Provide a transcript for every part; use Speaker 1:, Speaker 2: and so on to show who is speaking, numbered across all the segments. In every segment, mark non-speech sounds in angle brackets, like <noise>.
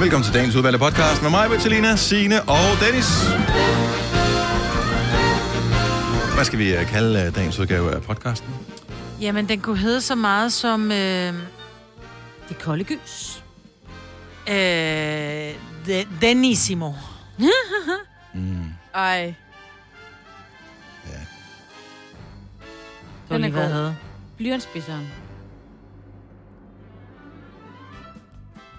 Speaker 1: Velkommen til dagens udvalgte podcast med mig, Bettelina, Signe og Dennis. Hvad skal vi øh, kalde øh, dagens udgave af podcasten?
Speaker 2: Jamen, den kunne hedde så meget som... Øh, det kolde gys. Øh, de, <laughs> Denissimo.
Speaker 1: Mm.
Speaker 3: Ej.
Speaker 2: Den er god.
Speaker 3: Blyantspidseren.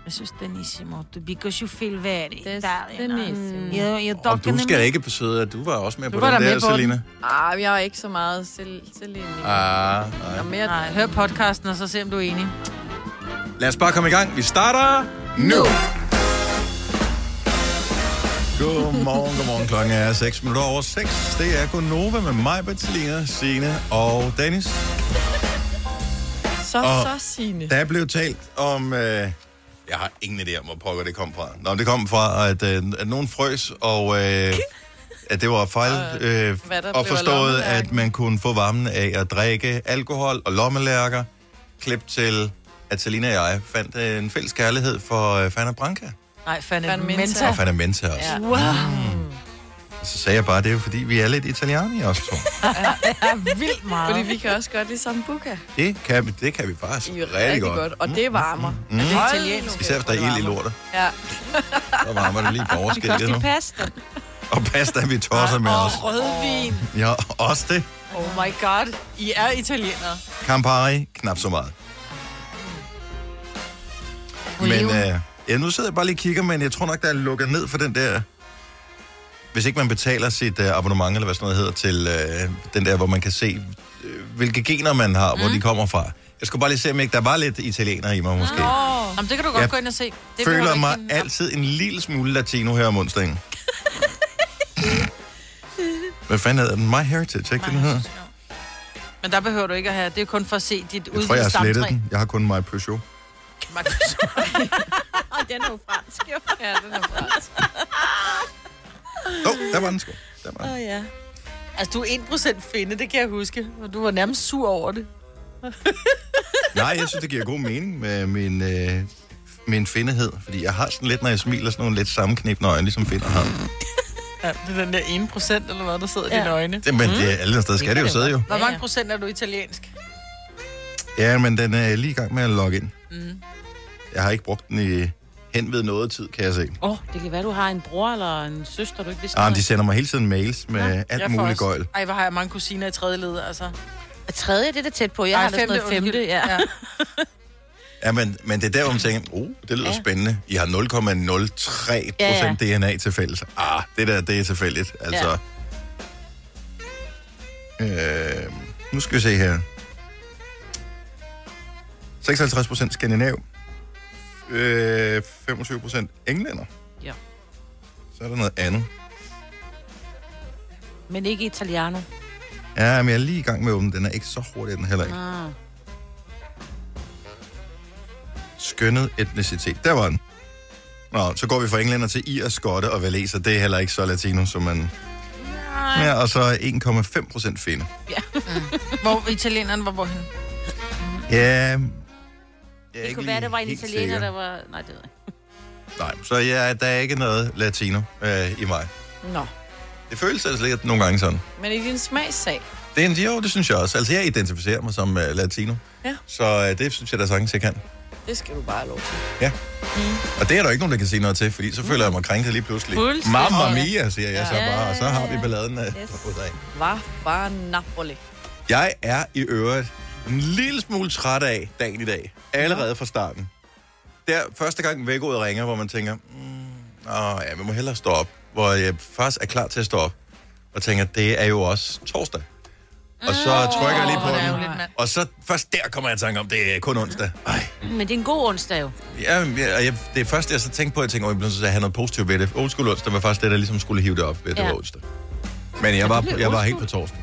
Speaker 2: Jeg synes, Denissimo. Du, because you feel very...
Speaker 3: Des- Denissimo.
Speaker 2: Denissimo. altså. Jeg, jeg
Speaker 1: Mm. Og du skal ikke besøge, du var også med
Speaker 2: Du
Speaker 1: på
Speaker 2: var
Speaker 1: den
Speaker 2: da
Speaker 1: der,
Speaker 2: med på den.
Speaker 1: Selina.
Speaker 3: Ah, men jeg er ikke så meget selv, selv
Speaker 1: Ah, nej.
Speaker 3: mere
Speaker 2: Nej, hør podcasten, og så se, om du er enig.
Speaker 1: Lad os bare komme i gang. Vi starter nu. Godmorgen, godmorgen. Klokken er 6 minutter over 6. Det er Gonova med mig, Bettelina, Signe og Dennis.
Speaker 3: så,
Speaker 1: Og-
Speaker 3: så sigende. <laughs>
Speaker 1: Der blev talt om... Øh, jeg har ingen idé om, hvor pokker det kom fra. Nå, det kom fra, at, øh, at nogen frøs, og øh, at det var fejl øh,
Speaker 3: hvad der blev af
Speaker 1: opforstået,
Speaker 3: lommelærken.
Speaker 1: at man kunne få varmen af at drikke alkohol og lommelærker. Klip til, at Selina og jeg fandt øh, en fælles kærlighed for øh, Fanta Branca.
Speaker 2: Nej, fandme
Speaker 3: Fandme
Speaker 2: menta.
Speaker 3: menta.
Speaker 1: Og Fanta Menta også. Mm.
Speaker 3: Ja.
Speaker 2: Wow.
Speaker 1: Og Så sagde jeg bare, det er jo fordi, vi er lidt italienere også to.
Speaker 2: Vildt meget.
Speaker 3: Fordi vi kan også godt lide sambuca.
Speaker 1: Det kan, vi- det kan vi faktisk
Speaker 3: I
Speaker 1: rigtig,
Speaker 3: er rigtig godt.
Speaker 1: godt.
Speaker 3: godt. Og det varmer. Mm.
Speaker 2: det er italiensk.
Speaker 1: Især hvis der er ild i lortet,
Speaker 3: Ja.
Speaker 1: så varmer det lige på overskillet nu.
Speaker 2: pasta.
Speaker 1: Og pasta, vi tosser med os.
Speaker 2: Rødvin.
Speaker 1: Ja, også det.
Speaker 2: Oh my god. I er italienere.
Speaker 1: Campari, knap så meget. Men
Speaker 2: Oliven.
Speaker 1: øh, ja, nu sidder jeg bare lige og kigger, men jeg tror nok, der er lukket ned for den der... Hvis ikke man betaler sit øh, abonnement, eller hvad sådan noget hedder, til øh, den der, hvor man kan se, øh, hvilke gener man har, mm. hvor de kommer fra. Jeg skulle bare lige se, om ikke der var lidt italiener i mig, måske.
Speaker 3: Åh.
Speaker 2: Jamen, det kan du godt
Speaker 1: Jeg
Speaker 2: gå ind og se. Det behøver
Speaker 1: føler
Speaker 2: du
Speaker 1: mig
Speaker 2: ikke en-
Speaker 1: altid en lille smule latino her
Speaker 2: <laughs>
Speaker 1: om onsdagen. Hvad fanden hedder den? My Heritage, ikke det, den hedder?
Speaker 2: Men der behøver du ikke at have. Det er kun for at se dit
Speaker 1: Jeg tror, jeg
Speaker 2: udvidede
Speaker 1: har slettet
Speaker 2: stamtræ.
Speaker 1: den. Jeg har kun My Peugeot.
Speaker 2: <laughs>
Speaker 3: Og den er jo fransk, jo. Ja, den er fransk.
Speaker 1: Åh, oh, der var den sgu. Der var den.
Speaker 3: Oh, ja.
Speaker 2: Altså, du er 1% finde, det kan jeg huske. Og du var nærmest sur over det.
Speaker 1: Nej, jeg synes, det giver god mening med min, øh, min findighed. Fordi jeg har sådan lidt, når jeg smiler, sådan nogle lidt sammenknæbende øjne, ligesom finder ham.
Speaker 2: Ja, det er den der 1% eller hvad, der sidder ja. i dine øjne. Mm.
Speaker 1: Det, men det er alle steder skal det jo sidde jo.
Speaker 2: Hvor
Speaker 3: Ja,
Speaker 2: mange
Speaker 3: ja.
Speaker 2: procent er du italiensk?
Speaker 1: Ja, men den er lige i gang med at logge ind. Jeg har ikke brugt den i hen ved noget tid, kan jeg se.
Speaker 4: Åh, oh, det kan være, du har en bror eller en søster, du ikke vidste.
Speaker 1: Ah, men de sender mig hele tiden mails med alt muligt gøjl.
Speaker 2: Ej, hvor har jeg mange kusiner i tredje led, altså.
Speaker 4: Og Tredje, det er da tæt på. Jeg
Speaker 2: Ej,
Speaker 4: har da sådan noget
Speaker 2: undskyld.
Speaker 4: femte, ja. ja.
Speaker 1: Ja, men, men det er der, hvor man tænker, oh, det lyder ja. spændende. I har 0,03
Speaker 4: Ja,
Speaker 1: procent ja, ja. DNA til fælles. Ah, det der, det er tilfældigt. Altså. Ja. Øh, nu skal vi se her. 56 procent skandinav. Øh, 25 procent englænder.
Speaker 4: Ja.
Speaker 1: Så er der noget andet.
Speaker 4: Men ikke italiano.
Speaker 1: Ja, men jeg er lige i gang med at åbne. Den er ikke så hurtig, er den heller ikke.
Speaker 4: Ah.
Speaker 1: Skønnet etnicitet. Der var den. Nå, så går vi fra englænder til ir, skotte og valeser. Det er heller ikke så latino, som man... Ja, og så 1,5 procent finde.
Speaker 2: Hvor italieneren var hvorhen?
Speaker 1: Ja...
Speaker 4: Det kunne være, det var en italiener, der var... Nej, det ved jeg ikke.
Speaker 1: Nej, så ja, der er ikke noget latino øh, i mig.
Speaker 3: Nå.
Speaker 1: Det føles altså lidt nogle gange sådan.
Speaker 3: Men i din smagssag.
Speaker 1: Det er en, jo, det synes jeg også. Altså, jeg identificerer mig som øh, latino.
Speaker 3: Ja.
Speaker 1: Så øh, det synes jeg da sagtens, jeg kan.
Speaker 3: Det skal du bare have lov til.
Speaker 1: Og det er der ikke nogen, der kan sige noget til, fordi så føler jeg mig krænket lige pludselig.
Speaker 4: Fuldstændig.
Speaker 1: Mamma mia, siger jeg så
Speaker 4: Ja.
Speaker 1: bare, og så har vi balladen øh, af
Speaker 4: Yes.
Speaker 1: yes. af.
Speaker 3: Var bare Napoli.
Speaker 1: Jeg er i øvrigt en lille smule træt af dagen i dag. Allerede fra starten. Der første gang vækkeordet ringer, hvor man tænker, mm, åh, ja, vi må hellere stå op. Hvor jeg faktisk er klar til at stå op. Og tænker, det er jo også torsdag. Og så
Speaker 4: Mm.
Speaker 1: trykker jeg lige
Speaker 2: Hvor der er jo
Speaker 1: på den.
Speaker 2: lidt mand.
Speaker 1: Og så først der kommer jeg i tanke om, det er kun onsdag. Ej,
Speaker 4: Men det er en god onsdag jo.
Speaker 1: ja, men jeg, og jeg, det første, jeg så tænkte på, jeg tænkte, åh, jeg bliver nødt til at have noget positivt ved det. Old school onsdag var faktisk det, der ligesom skulle hive det op ved, at det
Speaker 4: Ja.
Speaker 1: var onsdag. Men jeg var,
Speaker 4: blev
Speaker 1: jeg var
Speaker 4: old
Speaker 1: helt på
Speaker 4: school.
Speaker 1: torsdag.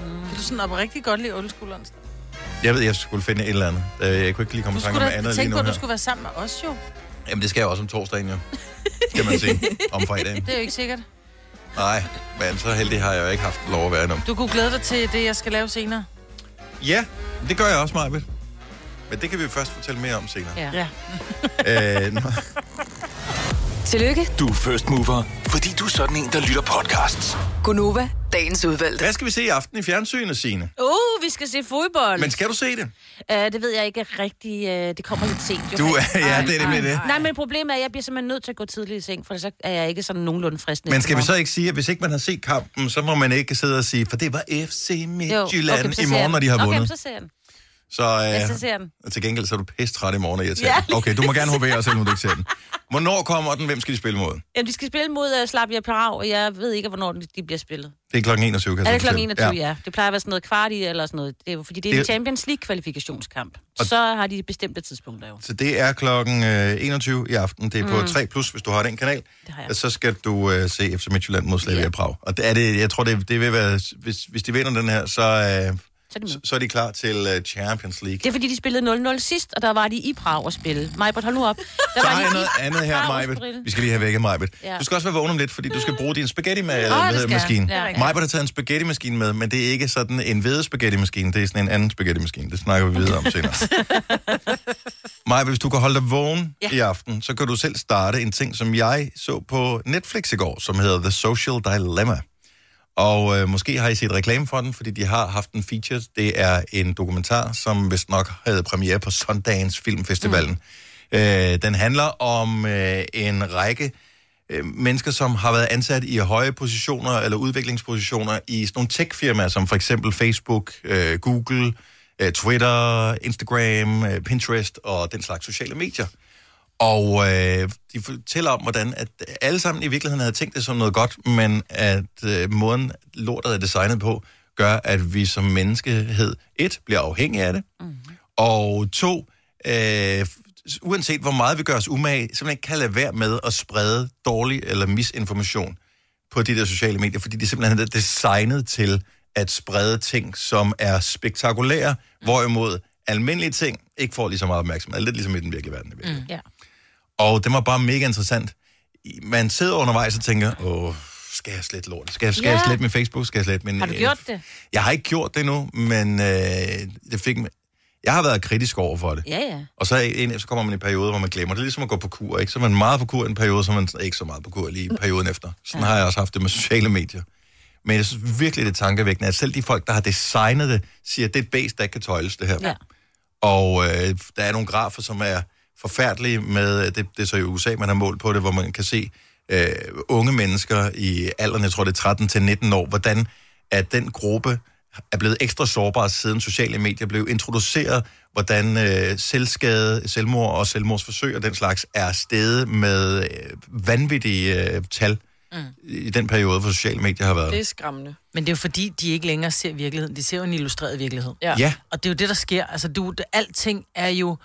Speaker 2: Kan du sådan op rigtig godt lide old onsdag?
Speaker 1: Jeg ved, jeg skulle finde et eller andet. Øh, Jeg kunne ikke lige komme
Speaker 2: Du
Speaker 1: i tanke om
Speaker 2: skulle da
Speaker 1: andet lige
Speaker 2: tænke
Speaker 1: nu
Speaker 2: på, at
Speaker 1: her.
Speaker 2: du skulle være sammen med os jo.
Speaker 1: Jamen, det skal jeg også om torsdagen, jo. Skal man sige. Om fredagen.
Speaker 2: Det er jo ikke sikkert.
Speaker 1: Nej, men så heldig har jeg jo ikke haft lov at være endnu.
Speaker 2: Du kunne glæde dig til det, jeg skal lave senere.
Speaker 1: Ja, det gør jeg også, Majbet. Men det kan vi først fortælle mere om senere.
Speaker 4: Ja.
Speaker 2: Ja.
Speaker 1: Øh, nå.
Speaker 5: Tillykke,
Speaker 6: Du er first mover, fordi du er sådan en, der lytter podcasts.
Speaker 5: Gunova, dagens udvalgte.
Speaker 1: Hvad skal vi se i aften i fjernsynet, Signe?
Speaker 4: Uh, vi skal se fodbold.
Speaker 1: Men skal du se det?
Speaker 4: Uh, det ved jeg ikke rigtig. Uh, det kommer lidt sent. Jo.
Speaker 1: Du er, ja, det er det med det.
Speaker 4: Nej, men problemet er, at jeg bliver simpelthen nødt til at gå tidligt i seng, for så er jeg ikke sådan nogenlunde frisk.
Speaker 1: Men
Speaker 4: næste
Speaker 1: skal vi
Speaker 4: morgen.
Speaker 1: så ikke sige, at hvis ikke man har set kampen, så må man ikke sidde og sige, for det var FC
Speaker 4: Jo,
Speaker 1: Midtjylland
Speaker 4: men så
Speaker 1: i
Speaker 4: ser jeg
Speaker 1: morgen,
Speaker 4: den.
Speaker 1: når de har
Speaker 4: Okay, men
Speaker 1: vundet.
Speaker 4: så ser jeg den.
Speaker 1: Så, øh,
Speaker 4: Ja, så ser jeg den.
Speaker 1: Og til gengæld så er du pisse træt i morgen og irriteret.
Speaker 4: Ja,
Speaker 1: Ja,
Speaker 4: lige
Speaker 1: okay, du må gerne hovere os, selvom du ikke ser den. Hvornår kommer den? Hvem skal de spille mod?
Speaker 4: Jamen, de skal spille mod uh, Slavia Prag, og jeg ved ikke, hvornår de de bliver spillet.
Speaker 1: Det er klokken 21, kan jeg
Speaker 4: Er det
Speaker 1: så
Speaker 4: kl.
Speaker 1: fortælle.
Speaker 4: 21, ja. ja. Det plejer at være sådan noget kvart i eller sådan noget. Det er jo, fordi det er
Speaker 1: Det-
Speaker 4: en Champions League-kvalifikationskamp. Så har de bestemte tidspunkter jo.
Speaker 1: Så det er klokken øh, 21 i aften. Det er på 3+, plus, hvis du har den kanal.
Speaker 4: Mm. Det har jeg.
Speaker 1: Og Så skal du øh, se FC Midtjylland mod Slavia
Speaker 4: Ja.
Speaker 1: Prag. Og det er det, jeg tror, det, det vil være... Hvis, hvis de vinder den her, så, øh,
Speaker 4: Så er de med.
Speaker 1: så, så er de klar til øh, Champions League.
Speaker 4: Det er fordi, de spillede 0-0 sidst, og der var de i Prag at spille. Majbert, hold nu op. Der
Speaker 1: Der
Speaker 4: var de
Speaker 1: er
Speaker 4: i
Speaker 1: noget andet her,
Speaker 4: Prag at
Speaker 1: Majbet.
Speaker 4: spille.
Speaker 1: Vi skal lige have vækket Majbet.
Speaker 4: Ja.
Speaker 1: Du skal også være vågen om lidt, fordi du skal bruge din spaghetti-maskine.
Speaker 4: Åh, det
Speaker 1: Oh,
Speaker 4: skal
Speaker 1: maskine.
Speaker 4: jeg. Ja,
Speaker 1: Ja,
Speaker 4: rigtigt.
Speaker 1: Majbet har taget en spaghetti-maskine med, men det er ikke sådan en hvede spaghetti-maskine. Det er sådan en anden spaghetti-maskine. Det snakker vi videre om senere. Majbet, hvis du kan holde dig vågen ja. i aften, så kan du selv starte en ting, som jeg så på Netflix i går, som hedder The Social Dilemma. Og øh, måske har I set reklame for den, fordi de har haft en feature. Det er en dokumentar, som vist nok havde premiere på Sundance Filmfestivalen. Mm. Øh, den handler om øh, en række øh, mennesker, som har været ansat i høje positioner eller udviklingspositioner i sådan nogle tech-firmaer, som for eksempel Facebook, øh, Google, øh, Twitter, Instagram, øh, Pinterest og den slags sociale medier. Og øh, de fortæller om, hvordan at alle sammen i virkeligheden havde tænkt det som noget godt, men at øh, måden lortet er designet på, gør, at vi som menneskehed, et, bliver afhængige af det, mm-hmm. og to, øh, uanset hvor meget vi gør os umage, simpelthen ikke kan lade være med at sprede dårlig eller misinformation på de der sociale medier, fordi de simpelthen er designet til at sprede ting, som er spektakulære, hvorimod almindelige ting ikke får lige så meget opmærksomhed. Lidt ligesom i den virkelige verden. I virkeligheden.
Speaker 4: Mm. Ja.
Speaker 1: Og det var bare mega interessant. Man sidder undervejs og tænker, åh, skal jeg slette lort? Skal, jeg- skal ja. jeg
Speaker 4: Ja.
Speaker 1: slette min Facebook? Skal jeg slette min... øh,
Speaker 4: Har du gjort det?
Speaker 1: Jeg har ikke gjort det endnu, men øh, det fik... mig- Jeg har været kritisk over for det.
Speaker 4: Ja, ja.
Speaker 1: Og så, er en, så kommer man i perioder, hvor man glemmer det. Det er ligesom at gå på kur, ikke? Så er man meget på kur i en periode, så er man ikke så meget på kur lige i perioden efter. Sådan har jeg også haft det med sociale medier. Men jeg synes virkelig, det er tankevækkende, at selv de folk, der har designet det, siger, at det er et base, der ikke kan tøjles, det her.
Speaker 4: Ja.
Speaker 1: Og øh, der er nogle grafer, som er forfærdelige med, øh, det, det er så i USA, man har målt på det, hvor man kan se øh, unge mennesker i alderen, jeg tror det er 13-19 år, hvordan at den gruppe er blevet ekstra sårbar, siden sociale medier blev introduceret, hvordan øh, selvskade, selvmord og selvmordsforsøg og den slags er steget med øh, vanvittige øh, tal mm. i den periode, hvor sociale medier har været.
Speaker 3: Det er skræmmende.
Speaker 2: Men det er jo fordi, de ikke længere ser virkeligheden. De ser jo en illustreret virkelighed.
Speaker 3: Ja.
Speaker 1: Ja,
Speaker 2: Og det er jo det, der sker. Altså, du, det, alting er jo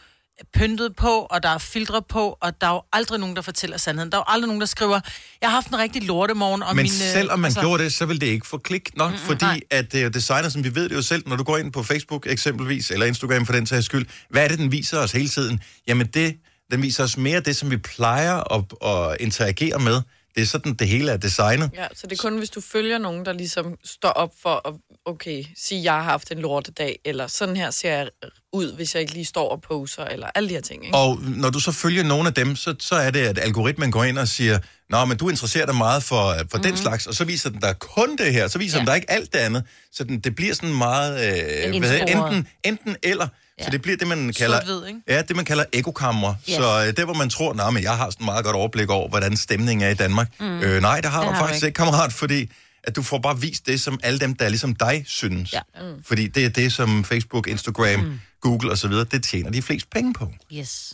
Speaker 2: pyntet på, og der er filtre på, og der er jo aldrig nogen, der fortæller sandheden. Der er jo aldrig nogen, der skriver, jeg har haft en rigtig lortemorgen. Og
Speaker 1: Men
Speaker 2: min, øh,
Speaker 1: selv om man altså... gjorde det, så vil det ikke få klik nok, mm-hmm, fordi
Speaker 2: nej.
Speaker 1: at det er jo designer, som vi ved det jo selv, når du går ind på Facebook eksempelvis, eller Instagram for den sags skyld, hvad er det, den viser os hele tiden? Jamen det, den viser os mere det, som vi plejer at, at interagere med. Det er sådan, det hele er designet.
Speaker 3: Ja, så det er kun, hvis du følger nogen, der ligesom står op for at, okay, sige, jeg har haft en lortedag, eller sådan her ser jeg ud, hvis jeg ikke lige står og poser, eller alle de her ting, ikke?
Speaker 1: Og når du så følger nogle af dem, så, så er det, at algoritmen går ind og siger, Nå, men du interesserer dig meget for, for mm-hmm. den slags, og så viser den dig kun det her, så viser ja. den dig ikke alt det andet. Så den, det bliver sådan meget, øh,
Speaker 4: En
Speaker 1: hvad hedder,
Speaker 4: ensporet.
Speaker 1: enten, enten eller. Ja. Så det bliver det, man kalder,
Speaker 2: Sort-hvid, ikke?
Speaker 1: ja, det, man kalder ekokammer.
Speaker 4: Yes.
Speaker 1: Så øh, der, hvor man tror, nej, men jeg har sådan meget godt overblik over, hvordan stemningen er i Danmark. Mm. Øh, nej, det har
Speaker 4: Det
Speaker 1: man
Speaker 4: har du
Speaker 1: faktisk
Speaker 4: ikke.
Speaker 1: ikke, kammerat, fordi at du får bare vist det, som alle dem, der er ligesom dig, synes.
Speaker 4: Ja.
Speaker 1: Mm. Fordi det er det, som Facebook, Instagram, mm. Google osv., det tjener de flest penge på.
Speaker 4: Yes.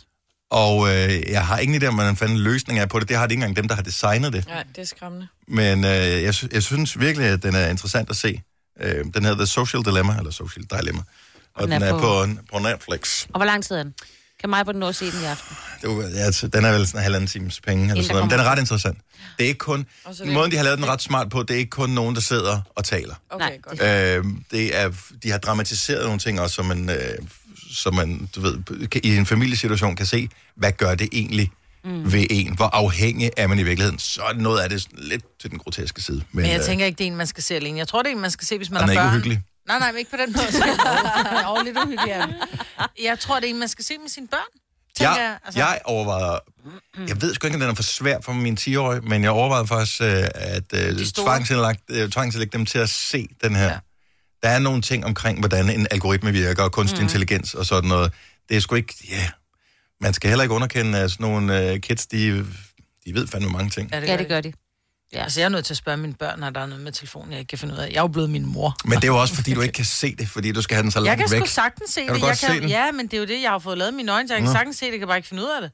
Speaker 1: Og øh, jeg har ingen idé om, hvordan fanden løsningen er på det. Det har det ikke engang dem, der har designet det.
Speaker 3: Nej, det er skræmmende.
Speaker 1: Men øh, jeg, sy- jeg synes virkelig, at den er interessant at se. Øh, den hedder The Social Dilemma, eller Social Dilemma. Og den, er, på, på Netflix.
Speaker 4: Og hvor lang tid er den? Kan Majbert nå at se den i aften?
Speaker 1: Det er, jo- ja, altså, den er vel sådan en halvanden times penge, eller
Speaker 4: Inden
Speaker 1: sådan
Speaker 4: der
Speaker 1: noget. Men den er
Speaker 4: kommer-
Speaker 1: ret interessant. Det er ikke kun...
Speaker 3: Og så er det-
Speaker 1: Måden, de har lavet den ret smart på, det er ikke kun nogen, der sidder og taler.
Speaker 3: Okay,
Speaker 4: Nej,
Speaker 3: Nej, godt.
Speaker 4: det-
Speaker 1: Øh, det er, de har dramatiseret nogle ting også, som man, øh, som man du ved, kan, i en familiesituation kan se, hvad gør det egentlig mm. ved en? Hvor afhængig er man i virkeligheden? Så er noget af det sådan lidt til den groteske side. øh,
Speaker 2: Men jeg tænker ikke, det er en, man skal se alene. Jeg tror, det er en, man skal se, hvis man
Speaker 1: Den
Speaker 2: har
Speaker 1: er ikke
Speaker 2: børn.
Speaker 1: uhyggelig.
Speaker 2: Nej, nej, men ikke på den måde. Jeg er lidt uhyggelig. er den. Jeg tror, det er en, man skal se med sine børn. Tænker
Speaker 1: jeg,
Speaker 2: jeg, altså-
Speaker 1: jeg overvejede, jeg ved sgu ikke, om den er for svær for min 10-årige, men jeg overvejede faktisk øh, at øh,
Speaker 4: store.
Speaker 1: tvangsindlægge øh, tvangsindlægge dem til at se den her. Ja. Der er nogle ting omkring, hvordan en algoritme virker, og kunstig mm. intelligens og sådan noget. Det er sgu ikke, ja, yeah. man skal heller ikke underkende at sådan nogle øh, kids, de, de ved fandme mange ting.
Speaker 4: Ja, det gør de.
Speaker 2: Ja. Altså, jeg er nødt til at spørge mine børn, når der er noget med telefonen, jeg ikke kan finde ud af. Jeg er jo blevet min mor.
Speaker 1: Men det er jo også, fordi du ikke kan se det, fordi du skal have den så
Speaker 2: Jeg
Speaker 1: langt
Speaker 2: kan
Speaker 1: væk.
Speaker 2: sgu sagtens se
Speaker 1: Kan
Speaker 2: det.
Speaker 1: du
Speaker 2: jeg
Speaker 1: godt se
Speaker 2: kan,
Speaker 1: den?
Speaker 2: Ja, men det er jo det, jeg har fået lavet i mine øjne, så jeg kan sagtens se det, jeg kan bare ikke finde ud af det.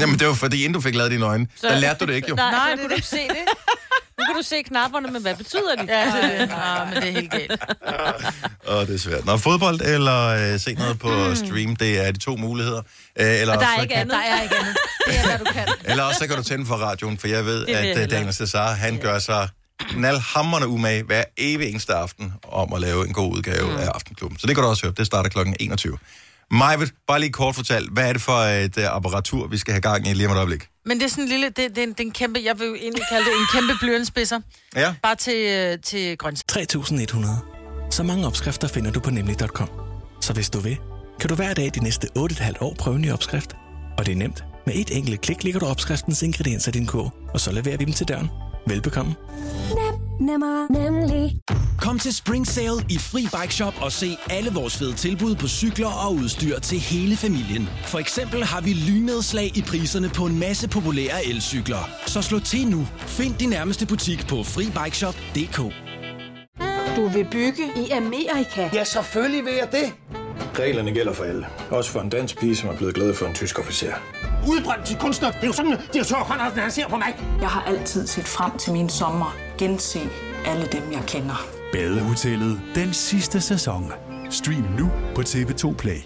Speaker 1: Jamen, det var fordi, inden du fik lavet dine øjne, så... der lærte du det ikke jo.
Speaker 4: Nej,
Speaker 2: Nej,
Speaker 4: Nej
Speaker 2: det er
Speaker 4: det kunne du ikke se det. Nu kan du se knapperne, men hvad betyder de?
Speaker 2: Ja, det er det. Ah, men det er helt galt.
Speaker 1: Åh, det er svært. Nå, fodbold eller øh, se noget på stream, det er de to muligheder. Øh, <laughs> eller,
Speaker 4: Og der er
Speaker 1: så
Speaker 4: ikke
Speaker 1: kan,
Speaker 4: andet. Der er ikke andet. Det er, hvad du kan.
Speaker 1: eller også så kan du tænde for radioen, for jeg ved,
Speaker 4: vil jeg
Speaker 1: at øh,
Speaker 4: hellere.
Speaker 1: Daniel Cesar, han gør sig knaldhammerende umage hver evig eneste aften om at lave en god udgave
Speaker 4: Hmm.
Speaker 1: mm. af Aftenklubben. Så det kan du også høre. Det starter klokken 21. Majved, bare lige kort fortalt, hvad er det for et uh, apparatur, vi skal have gang i lige om et øjeblik?
Speaker 2: Men det er sådan en lille, det, det, er en, det er en kæmpe, jeg vil jo egentlig kalde det en kæmpe blyantspidser.
Speaker 1: Ja,
Speaker 2: Bare til, øh, til grøntsager.
Speaker 7: 3100. Så mange opskrifter finder du på nemlig.com. Så hvis du vil, kan du hver dag de næste 8,5 år prøve en ny opskrift. Og det er nemt. Med et enkelt klik ligger du opskriftens ingredienser i din kog, og så leverer vi dem til døren. Velbekomme.
Speaker 8: Nemmer, nemlig.
Speaker 9: Kom til Spring Sale i Fri Bike Shop og se alle vores fede tilbud på cykler og udstyr til hele familien. For eksempel har vi lynedslag i priserne på en masse populære elcykler. Så slå til nu. Find din nærmeste butik på FriBikeShop.dk
Speaker 10: Du vil bygge i Amerika?
Speaker 11: Ja, selvfølgelig vil jeg det.
Speaker 12: Reglerne gælder for alle. Også for en dansk pige, som er blevet glad for en tysk officer.
Speaker 11: Udbrændt til kunstner. Det er jo sådan, at de har Conradsen, han ser på mig.
Speaker 13: Jeg har altid set frem til min sommer, gense alle dem, jeg kender.
Speaker 14: Badehotellet den sidste sæson. Stream nu på TV2 Play.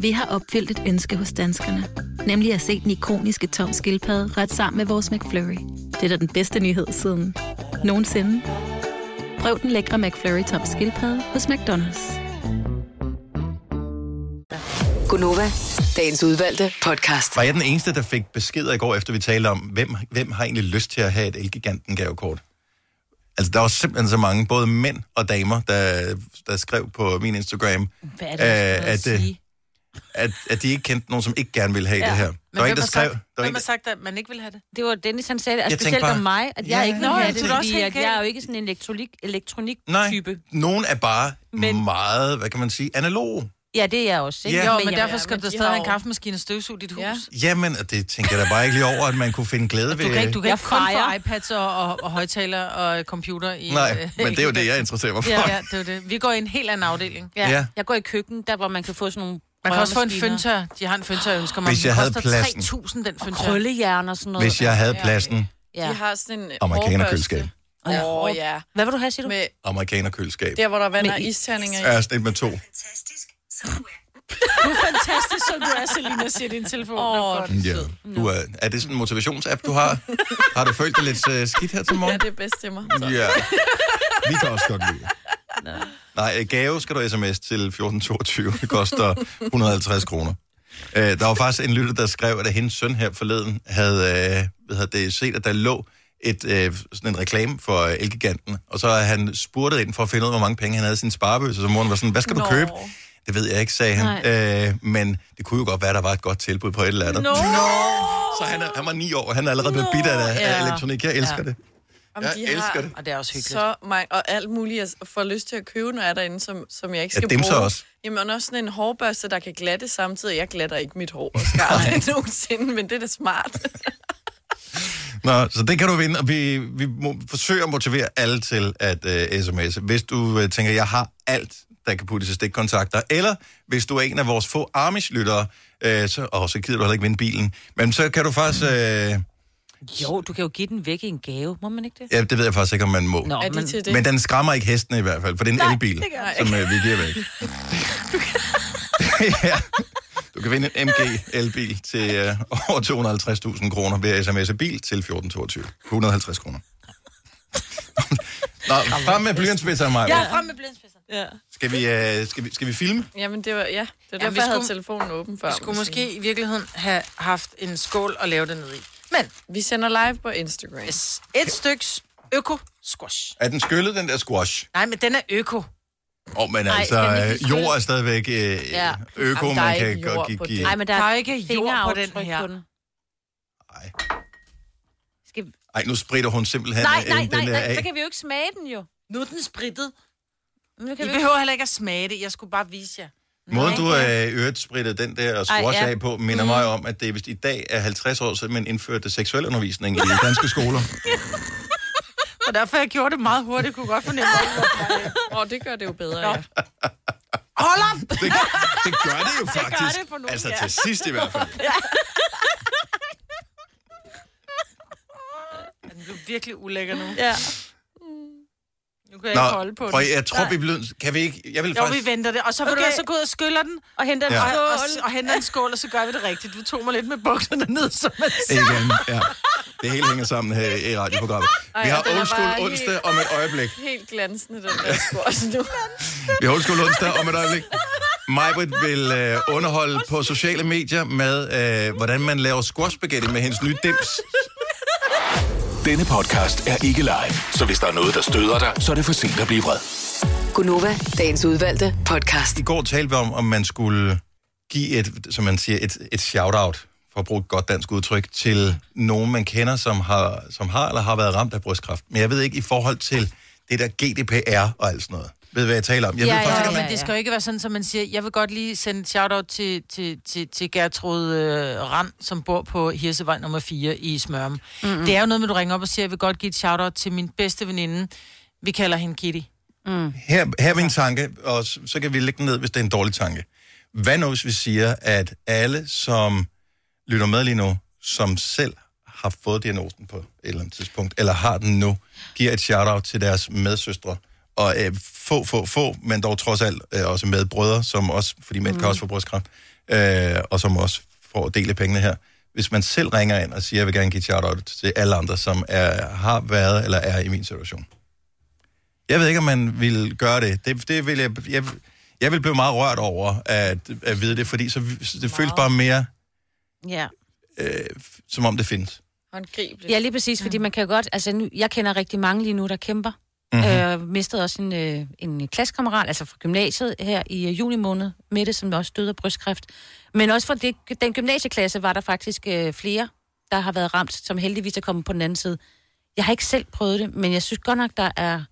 Speaker 15: Vi har opfyldt et ønske hos danskerne. Nemlig at se den ikoniske tom skildpadde ret sammen med vores McFlurry. Det er da den bedste nyhed siden nogensinde. Prøv den lækre McFlurry tom skildpadde hos McDonald's.
Speaker 5: Gunova, dagens udvalgte podcast.
Speaker 1: var jeg den eneste, der fik beskeder i går, efter vi talte om, hvem, hvem har egentlig lyst til at have et Elgiganten gavekort? Altså, der var simpelthen så mange, både mænd og damer, der, der skrev på min Instagram,
Speaker 4: Hvad er det, jeg
Speaker 1: Øh,
Speaker 4: skal at,
Speaker 1: at, øh,
Speaker 4: sige?
Speaker 1: at, at de ikke kendte nogen, som ikke gerne ville have ja. det her. Der
Speaker 2: Men
Speaker 1: var
Speaker 2: hvem
Speaker 1: en, der
Speaker 2: har
Speaker 1: skrev...
Speaker 2: sagt,
Speaker 1: Der var
Speaker 2: hvem
Speaker 1: en,
Speaker 2: har sagt, at man ikke vil have det?
Speaker 4: Det var Dennis, han sagde,
Speaker 1: Jeg
Speaker 4: at
Speaker 1: tænkte
Speaker 4: specielt
Speaker 1: bare-
Speaker 4: om mig, at jeg
Speaker 1: Ja,
Speaker 4: ikke vil
Speaker 2: ja, ja.
Speaker 4: have
Speaker 2: Nå,
Speaker 4: det,
Speaker 2: det er også
Speaker 4: fordi
Speaker 2: helt
Speaker 4: at jeg er jo
Speaker 2: galt.
Speaker 4: ikke sådan en elektronik, elektronik
Speaker 1: nej,
Speaker 4: type.
Speaker 1: nogen er bare men... meget, hvad kan man sige, analog.
Speaker 4: Ja, det er jeg også, ikke?
Speaker 1: Ja.
Speaker 2: Jo, men,
Speaker 4: jeg-
Speaker 2: derfor
Speaker 4: ja,
Speaker 2: skal
Speaker 4: men
Speaker 2: du da
Speaker 4: de
Speaker 2: stadig
Speaker 4: har
Speaker 2: have en
Speaker 4: jo-
Speaker 2: kaffemaskine og støvsuge dit hus.
Speaker 3: Ja.
Speaker 1: Jamen, og det tænker jeg da bare ikke lige over, at man kunne finde glæde ved...
Speaker 2: Du kan ikke, du kan
Speaker 4: Jeg
Speaker 2: ikke kun få
Speaker 4: fejrer.
Speaker 2: iPads og, og, og højtaler og øh, computer i...
Speaker 1: Nej,
Speaker 2: øh,
Speaker 1: men det er jo det, jeg interesserer mig for.
Speaker 2: Ja, ja, det er jo det. Vi går i en helt anden afdeling.
Speaker 4: Ja.
Speaker 1: Ja.
Speaker 4: ja. Jeg går i køkken, der hvor man kan få sådan nogle
Speaker 2: Man kan også få en
Speaker 4: rørmaskiner.
Speaker 2: føntør. De har en føntør, jeg ønsker mig.
Speaker 1: Hvis jeg
Speaker 2: Den
Speaker 1: havde
Speaker 2: koster
Speaker 1: pladsen.
Speaker 2: 3.000, den
Speaker 4: Og
Speaker 2: føntør.
Speaker 4: krøllejern og sådan noget.
Speaker 1: Hvis jeg havde pladsen,
Speaker 4: Ja.
Speaker 3: De har sådan en
Speaker 1: amerikanerkøleskab.
Speaker 3: hårbørste. Åh, oh, ja.
Speaker 4: Hvad vil du have, siger du?
Speaker 3: Med
Speaker 1: Amerikanerkøleskab.
Speaker 3: der, hvor der vander isterninger i.
Speaker 1: Ja, sådan et med to.
Speaker 2: Du er fantastisk, som du er, Selina, siger din telefon. Oh,
Speaker 1: Ja. Du er, er det sådan en motivationsapp, du har? Har du følt dig lidt uh, skidt her til
Speaker 3: Ja,
Speaker 1: morgen?
Speaker 3: det er bedst til mig. Så.
Speaker 1: Ja. Vi kan også godt lide. Nej, øh, gave skal du sms til 1422. Det koster 150 kroner. Øh, Der var faktisk en lytter, der skrev, at hendes søn her forleden havde, øh, hvad hedder det, set, at der lå et, øh, sådan en reklame for øh, Elgiganten, og så havde han spurgtet ind for at finde ud af, hvor mange penge han havde i sin sparebøsse, så moren var sådan, hvad skal du
Speaker 3: Nå.
Speaker 1: købe? Det ved jeg ikke, sagde han. Øh, men det kunne jo godt være, at der var et godt tilbud på et eller andet. Så han, er, han var ni år, og han er allerede blevet bidt af, af
Speaker 3: ja.
Speaker 1: elektronik. Jeg elsker
Speaker 2: Ja.
Speaker 1: det.
Speaker 3: Om
Speaker 1: Jeg
Speaker 3: de
Speaker 1: elsker
Speaker 3: har
Speaker 1: det.
Speaker 2: Og det er også hyggeligt.
Speaker 3: så mange, og alt muligt, jeg får lyst til at købe, når jeg er derinde, som, som jeg ikke
Speaker 1: Ja,
Speaker 3: skal
Speaker 1: dem så
Speaker 3: bruge.
Speaker 1: også.
Speaker 3: Jamen, og også sådan en hårbørste, der kan glatte samtidig. Jeg glatter ikke mit hår og skar <laughs> nogensinde, men det er da smart.
Speaker 1: Nå, så det kan du vinde, og vi, vi må, forsøger at motivere alle til at uh, sms'e. Hvis du uh, tænker, jeg har alt, der kan puttes i stikkontakter, eller hvis du er en af vores få Amish-lyttere, øh, så, åh, så gider du heller ikke vinde bilen, men så kan du faktisk... Øh, ja,
Speaker 4: Jo, du kan jo give den væk i en gave. Må man ikke det?
Speaker 1: det ved jeg faktisk ikke, om man må.
Speaker 4: Nå,
Speaker 3: Er de
Speaker 4: men
Speaker 3: til det?
Speaker 1: Men den skræmmer ikke hestene i hvert fald, for det er en Nej, elbil,
Speaker 3: det gør den
Speaker 1: som øh, vi giver væk. <laughs> ja. Du kan vinde en MG elbil til øh, over 250.000 kroner ved at sms'e bil til 1422. 150 kroner. Nå, frem med blyantspidser, Maja.
Speaker 2: Ja, frem med blindspidser. Ja.
Speaker 1: Skal, vi, øh, skal, vi, skal vi filme?
Speaker 3: Jamen, det var, ja, det var
Speaker 2: Jamen,
Speaker 3: derfor,
Speaker 2: vi
Speaker 3: jeg havde
Speaker 2: skulle-
Speaker 3: telefonen åben før.
Speaker 2: Vi skulle måske i virkeligheden have haft en skål og lave det ned i. Men
Speaker 3: Vi sender live på Instagram.
Speaker 2: yes, et styks øko-squash.
Speaker 1: Er den skyllet, den der squash?
Speaker 2: Nej, men den er øko.
Speaker 1: Åh, men
Speaker 4: Ej,
Speaker 1: altså,
Speaker 4: skal man
Speaker 1: Ej,
Speaker 4: ikke
Speaker 1: øh,
Speaker 4: lige
Speaker 1: jord er stadigvæk øh, ja. øko,
Speaker 4: Jamen, der er
Speaker 1: man kan
Speaker 4: ikke
Speaker 1: godt
Speaker 4: jord
Speaker 1: give.
Speaker 4: på
Speaker 1: give.
Speaker 4: den. Ej, men der,
Speaker 2: Der
Speaker 4: er
Speaker 2: er ikke jord på den
Speaker 4: fingeraftryk
Speaker 2: her.
Speaker 4: På den. Skal...
Speaker 1: Ej, nu spritter hun simpelthen
Speaker 4: Nej,
Speaker 1: øh,
Speaker 4: nej, nej,
Speaker 1: den der
Speaker 4: nej,
Speaker 1: af.
Speaker 4: så kan vi jo ikke smage den jo.
Speaker 2: Nu er den sprittet.
Speaker 4: Nu
Speaker 2: I behøver heller ikke at smage det. Jeg skulle bare vise jer.
Speaker 1: Måden, du øh, øvrigt sprittede den der squash
Speaker 2: Ej,
Speaker 1: ja.
Speaker 2: ja.
Speaker 1: af på, minder mig
Speaker 4: Mm.
Speaker 1: om, at det er vist i dag er 50 år siden, man indførte seksuelundervisning i danske skoler.
Speaker 2: <laughs> Og derfor jeg gjorde det meget hurtigt, kunne godt fornemme.
Speaker 3: <laughs> Åh, oh, det gør det jo bedre, ja.
Speaker 2: Hold op!
Speaker 1: Det, det gør
Speaker 2: <laughs>
Speaker 1: det jo
Speaker 3: Det gør
Speaker 1: faktisk.
Speaker 3: det for nogen,
Speaker 1: altså
Speaker 3: ja.
Speaker 1: til sidst i hvert fald.
Speaker 2: Ja. Den blev virkelig ulækker nu.
Speaker 4: Ja.
Speaker 2: Nu kan jeg Nå, ikke holde på
Speaker 1: for
Speaker 2: den.
Speaker 1: jeg tror, vi bliver... Kan vi ikke... Jeg vil
Speaker 2: Jo,
Speaker 1: faktisk...
Speaker 2: vi venter det. Og så vil okay. du
Speaker 4: Okay.
Speaker 2: have, så gå ud og skyller den.
Speaker 4: Og henter
Speaker 1: en Ja. skål.
Speaker 2: Og, og, og henter en skål, og så gør vi det rigtigt. Du tog mig lidt med bukserne ned, som man siger.
Speaker 1: Igen, ja. Det hele hænger sammen her i radioprogrammet.
Speaker 3: Ej,
Speaker 1: Vi har
Speaker 3: og den er
Speaker 1: old school
Speaker 3: bare
Speaker 1: onsdag
Speaker 3: helt-
Speaker 1: om et øjeblik.
Speaker 3: <laughs> Helt glansende, den der squash
Speaker 1: <laughs>
Speaker 3: nu.
Speaker 1: Vi har old school onsdag om et øjeblik. Majbrit vil øh, underholde på sociale medier med, øh, hvordan man laver squash spaghetti med hendes nye dims.
Speaker 6: Denne podcast er ikke live, så hvis der er noget, der støder dig, så er det for sent at blive vred.
Speaker 5: Gunova, dagens udvalgte podcast.
Speaker 1: I går talte vi om, om man skulle give et, som man siger, et, et shout-out, for at bruge et godt dansk udtryk, til nogen, man kender, som har, som har eller har været ramt af brystkræft. Men jeg ved ikke i forhold til det der GDPR og alt sådan noget. Ved du, hvad jeg taler om? Jeg ved faktisk
Speaker 2: ja,
Speaker 1: ikke,
Speaker 2: ja,
Speaker 1: om-
Speaker 2: men det skal jo ikke være sådan, at man siger, jeg vil godt lige sende et shout-out til, til, til, til Gertrud øh, Rand, som bor på Hirsevej nummer 4 i Smørum. Mm-hmm. Det er jo noget med, at du ringer op og siger, jeg vil godt give et shout-out til min bedste veninde. Vi kalder hende Kitty. Mm.
Speaker 1: Her, her er min tanke, og så, så kan vi lægge den ned, hvis det er en dårlig tanke. Hvad nu, hvis vi siger, at alle, som lytter med lige nu, som selv har fået diagnosen på et eller andet tidspunkt, eller har den nu, giver et shout-out til deres medsøstre. Og øh, få, få, få, men dog trods alt øh, også medbrødre, som også, fordi mænd mm. kan også få brystkræft, øh, og som også får del af pengene her. Hvis man selv ringer ind og siger, jeg vil gerne give et shout-out til alle andre, som er, har været eller er i min situation. Jeg ved ikke, om man vil gøre det. Det, det vil jeg, jeg, jeg vil blive meget rørt over at, at vide det, fordi så, så det føles bare mere,
Speaker 4: Ja.
Speaker 1: øh, f- som om det findes.
Speaker 3: Håndgribeligt.
Speaker 4: ja, lige præcis, fordi man kan jo godt... Altså, nu, jeg kender rigtig mange lige nu, der kæmper.
Speaker 1: Mhm.
Speaker 4: Mm-hmm. Øh, mistede også en, øh, en klassekammerat, altså fra gymnasiet her i øh, juni måned, Mette, som også døde af brystkræft. Men også fra det, den gymnasieklasse var der faktisk øh, flere, der har været ramt, som heldigvis er kommet på den anden side. Jeg har ikke selv prøvet det, men jeg synes godt nok, der er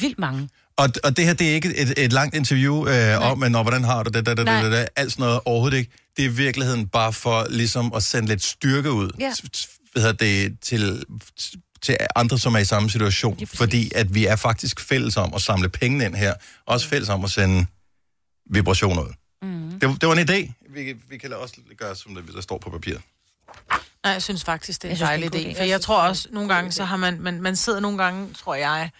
Speaker 4: vildt mange.
Speaker 1: Og, og det her, det er ikke et, et langt interview øh, om, men, "Nå, hvordan har du det, da, da, da, da,
Speaker 4: Nej.
Speaker 1: da, alt sådan noget overhovedet ikke. Det er i virkeligheden bare for ligesom at sende lidt styrke ud
Speaker 4: Ja.
Speaker 1: t- t- hvad hedder det, til, til andre, som er i samme situation. Fordi at vi er faktisk fælles om at samle pengene ind her. Også fælles om at sende vibrationer ud. Mm.
Speaker 4: Mhm.
Speaker 1: Det, det var en idé. Vi, vi kan også gøre, som det, der står på papiret.
Speaker 2: Nej, jeg synes faktisk, det er
Speaker 4: Jeg
Speaker 2: en
Speaker 4: synes, det er en
Speaker 2: dejlig
Speaker 4: god idé.
Speaker 2: idé. For
Speaker 4: Jeg
Speaker 2: jeg
Speaker 4: synes,
Speaker 2: tror også, nogle gange, så har man, man, man sidder nogle gange, tror jeg,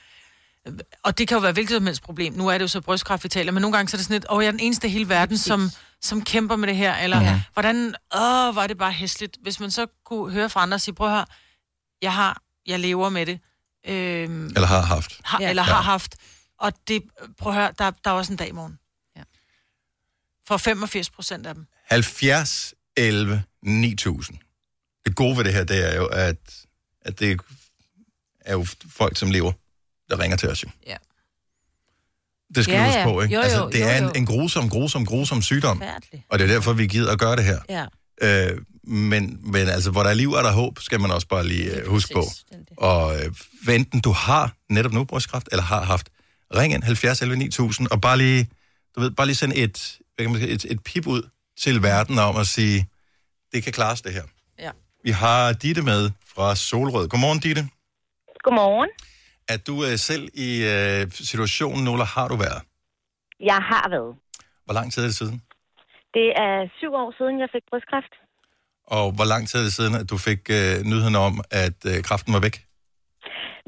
Speaker 2: og det kan jo være hvilket som helst problem. Nu er det jo så brystkræft, vi taler, men nogle gange så er det sådan lidt, åh, jeg er den eneste i hele verden, som, som kæmper med det her, eller
Speaker 1: Ja.
Speaker 2: ja. hvordan, åh, hvor er det bare hæsligt. Hvis man så kunne høre fra andre og sige, prøv her, jeg har, jeg lever med det. Øhm,
Speaker 1: Eller har haft.
Speaker 2: har,
Speaker 1: Ja.
Speaker 2: ja. eller har
Speaker 1: Ja.
Speaker 2: haft. Og det, prøv at høre, der, der er også en dag i morgen. Ja. For 85 procent af dem.
Speaker 1: 70, 11, 9000. Det gode ved det her, det er jo, at, at det er jo folk, som lever, der ringer til os jo.
Speaker 2: Ja.
Speaker 1: Det skal ja, vi
Speaker 4: Ja,
Speaker 1: huske
Speaker 4: ja.
Speaker 1: på, ikke?
Speaker 4: Jo, jo,
Speaker 1: altså, det
Speaker 4: jo,
Speaker 1: er
Speaker 4: jo.
Speaker 1: en, en grusom, grusom, grusom sygdom.
Speaker 4: Forfærdelig.
Speaker 1: Og det er derfor, vi gider at gøre det her.
Speaker 4: Ja.
Speaker 1: Øh, men, men altså, hvor der er liv, er der håb, skal man også bare lige øh, huske på. Og øh, hvad enten du har netop nu brystkræft, eller har haft, ring ind 70 11 9000, og bare lige, du ved, bare lige send et, hvad kan man sige, et, et pip ud til verden om at sige, det kan klares det her.
Speaker 3: Ja.
Speaker 1: Vi har Ditte med fra Solrød. Godmorgen, Ditte.
Speaker 16: Godmorgen.
Speaker 1: Er du øh, selv i øh, situationen nu, eller har du været?
Speaker 16: Jeg har været.
Speaker 1: Hvor lang tid er det siden?
Speaker 16: Det er syv år siden, jeg fik brystkræft.
Speaker 1: Og hvor lang tid er det siden, at du fik øh, nyheden om, at øh, kræften var væk?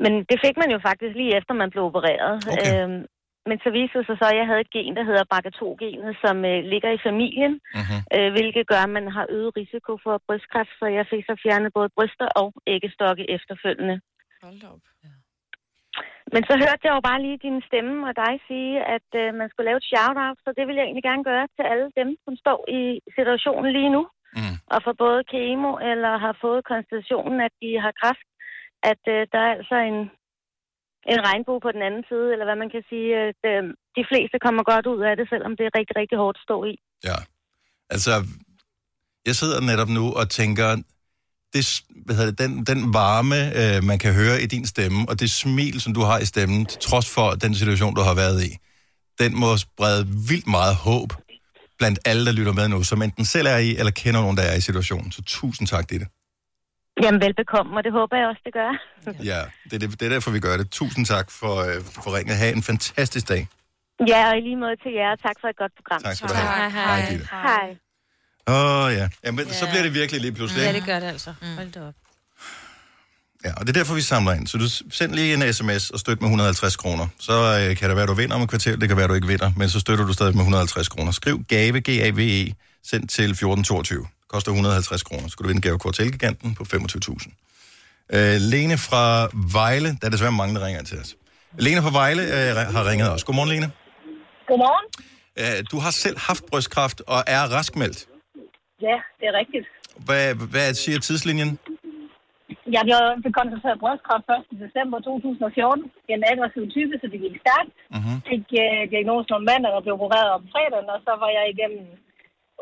Speaker 16: Men det fik man jo faktisk lige efter, man blev opereret.
Speaker 1: Okay.
Speaker 16: Øhm, men så viste det sig så, at jeg havde et gen, der hedder BRCA2-genet, som øh, ligger i familien,
Speaker 1: mm-hmm.
Speaker 16: øh, hvilket gør, at man har øget risiko for brystkræft, så jeg fik så fjernet både bryster og æggestokke efterfølgende.
Speaker 3: Hold da op.
Speaker 16: Men så hørte jeg jo bare lige din stemme og dig sige, at øh, man skulle lave et shout-out, så det vil jeg egentlig gerne gøre til alle dem, som står i situationen lige nu,
Speaker 1: mm.
Speaker 16: og får både kemo eller har fået konstatationen, at de har kræft, at øh, der er altså en, en regnbue på den anden side, eller hvad man kan sige. At, øh, de fleste kommer godt ud af det, selvom det er rigtig, rigtig hårdt at stå i.
Speaker 1: Ja. Altså, jeg sidder netop nu og tænker, det, s- hvad hedder det, den, den varme, øh, man kan høre i din stemme, og det smil, som du har i stemmen, til trods for den situation, du har været i, den må sprede vildt meget håb blandt alle, der lytter med nu, som enten selv er i, eller kender nogen, der er i situationen. Så tusind tak, Ditte.
Speaker 16: Jamen velbekomme, og det håber jeg også, det gør.
Speaker 1: Ja, det er, det, det er derfor, vi gør det. Tusind tak for, øh, for ringen. Ha' en fantastisk dag.
Speaker 16: ja, og i lige måde til jer, og tak for et godt program.
Speaker 1: Tak skal du have. Tak, hej. Hej, Gitte.
Speaker 16: hej.
Speaker 1: Åh oh, ja. Jamen, så
Speaker 4: Ja.
Speaker 1: bliver det virkelig lige pludselig.
Speaker 4: Ja,
Speaker 1: ikke?
Speaker 4: det gør det altså. Mm. Hold da op.
Speaker 1: Ja, og det er derfor, vi samler ind. Så du s- send lige en sms og støt med 150 kroner. Så øh, kan det være, du vinder om et kvarter, det kan være, du ikke vinder, men så støtter du stadig med 150 kroner. Skriv GAVE, G-A-V-E, send E, til 1422. Koster 150 kroner. Så skal du vinde gavekort til Elgiganten på 25.000. Øh, Lene fra Vejle, der er desværre mange, der ringer ind til os. Lene fra Vejle øh, re- har ringet os. Godmorgen, Lene.
Speaker 17: Godmorgen.
Speaker 1: Øh, du har selv haft brystkræft og er raskmeldt.
Speaker 17: Ja, det er rigtigt.
Speaker 1: Hvad, hvad siger tidslinjen?
Speaker 17: Jeg blev konstateret brystkræft 1. december 2014. En aggressiv type, så det gik stærkt.
Speaker 1: Mm-hmm.
Speaker 17: Fik øh, diagnosen om mandag og blev opereret om fredagen, og så var jeg igennem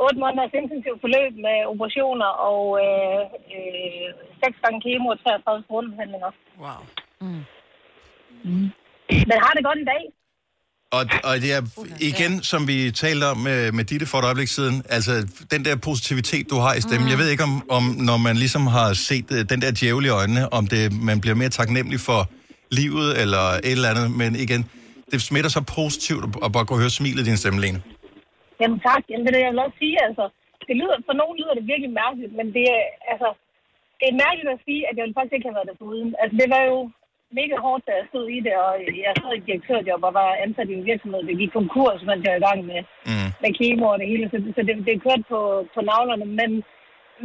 Speaker 17: 8 måneders intensiv forløb med operationer og øh, øh, 6 gange kemo og 33 strålebehandlinger.
Speaker 2: Wow.
Speaker 1: Mm.
Speaker 17: Men har det godt i dag?
Speaker 1: Og, og det er igen, som vi talte om med, med Ditte for et øjeblik siden, altså den der positivitet, du har i stemmen. Mm. Jeg ved ikke, om, om når man ligesom har set øh, den der djævel i øjnene, om det, man bliver mere taknemmelig for livet eller et eller andet, men igen, det smitter så positivt at- at bare gå og høre smilet i din stemme, Lene.
Speaker 17: Jamen tak. Jamen, det er det, jeg vil også sige, altså. Det lyder, for nogen lyder det virkelig mærkeligt, men det er, altså, det er mærkeligt at sige, at jeg ville faktisk ikke have været der foruden. Altså, det var jo mega hårdt, da jeg stod i det, og jeg sad i et direktørjob og var ansat i en virksomhed, der gik konkurs, mens jeg var i gang med,
Speaker 1: mm.
Speaker 17: med kemo og det hele, så, så det, det er kørt på, på navlerne, men,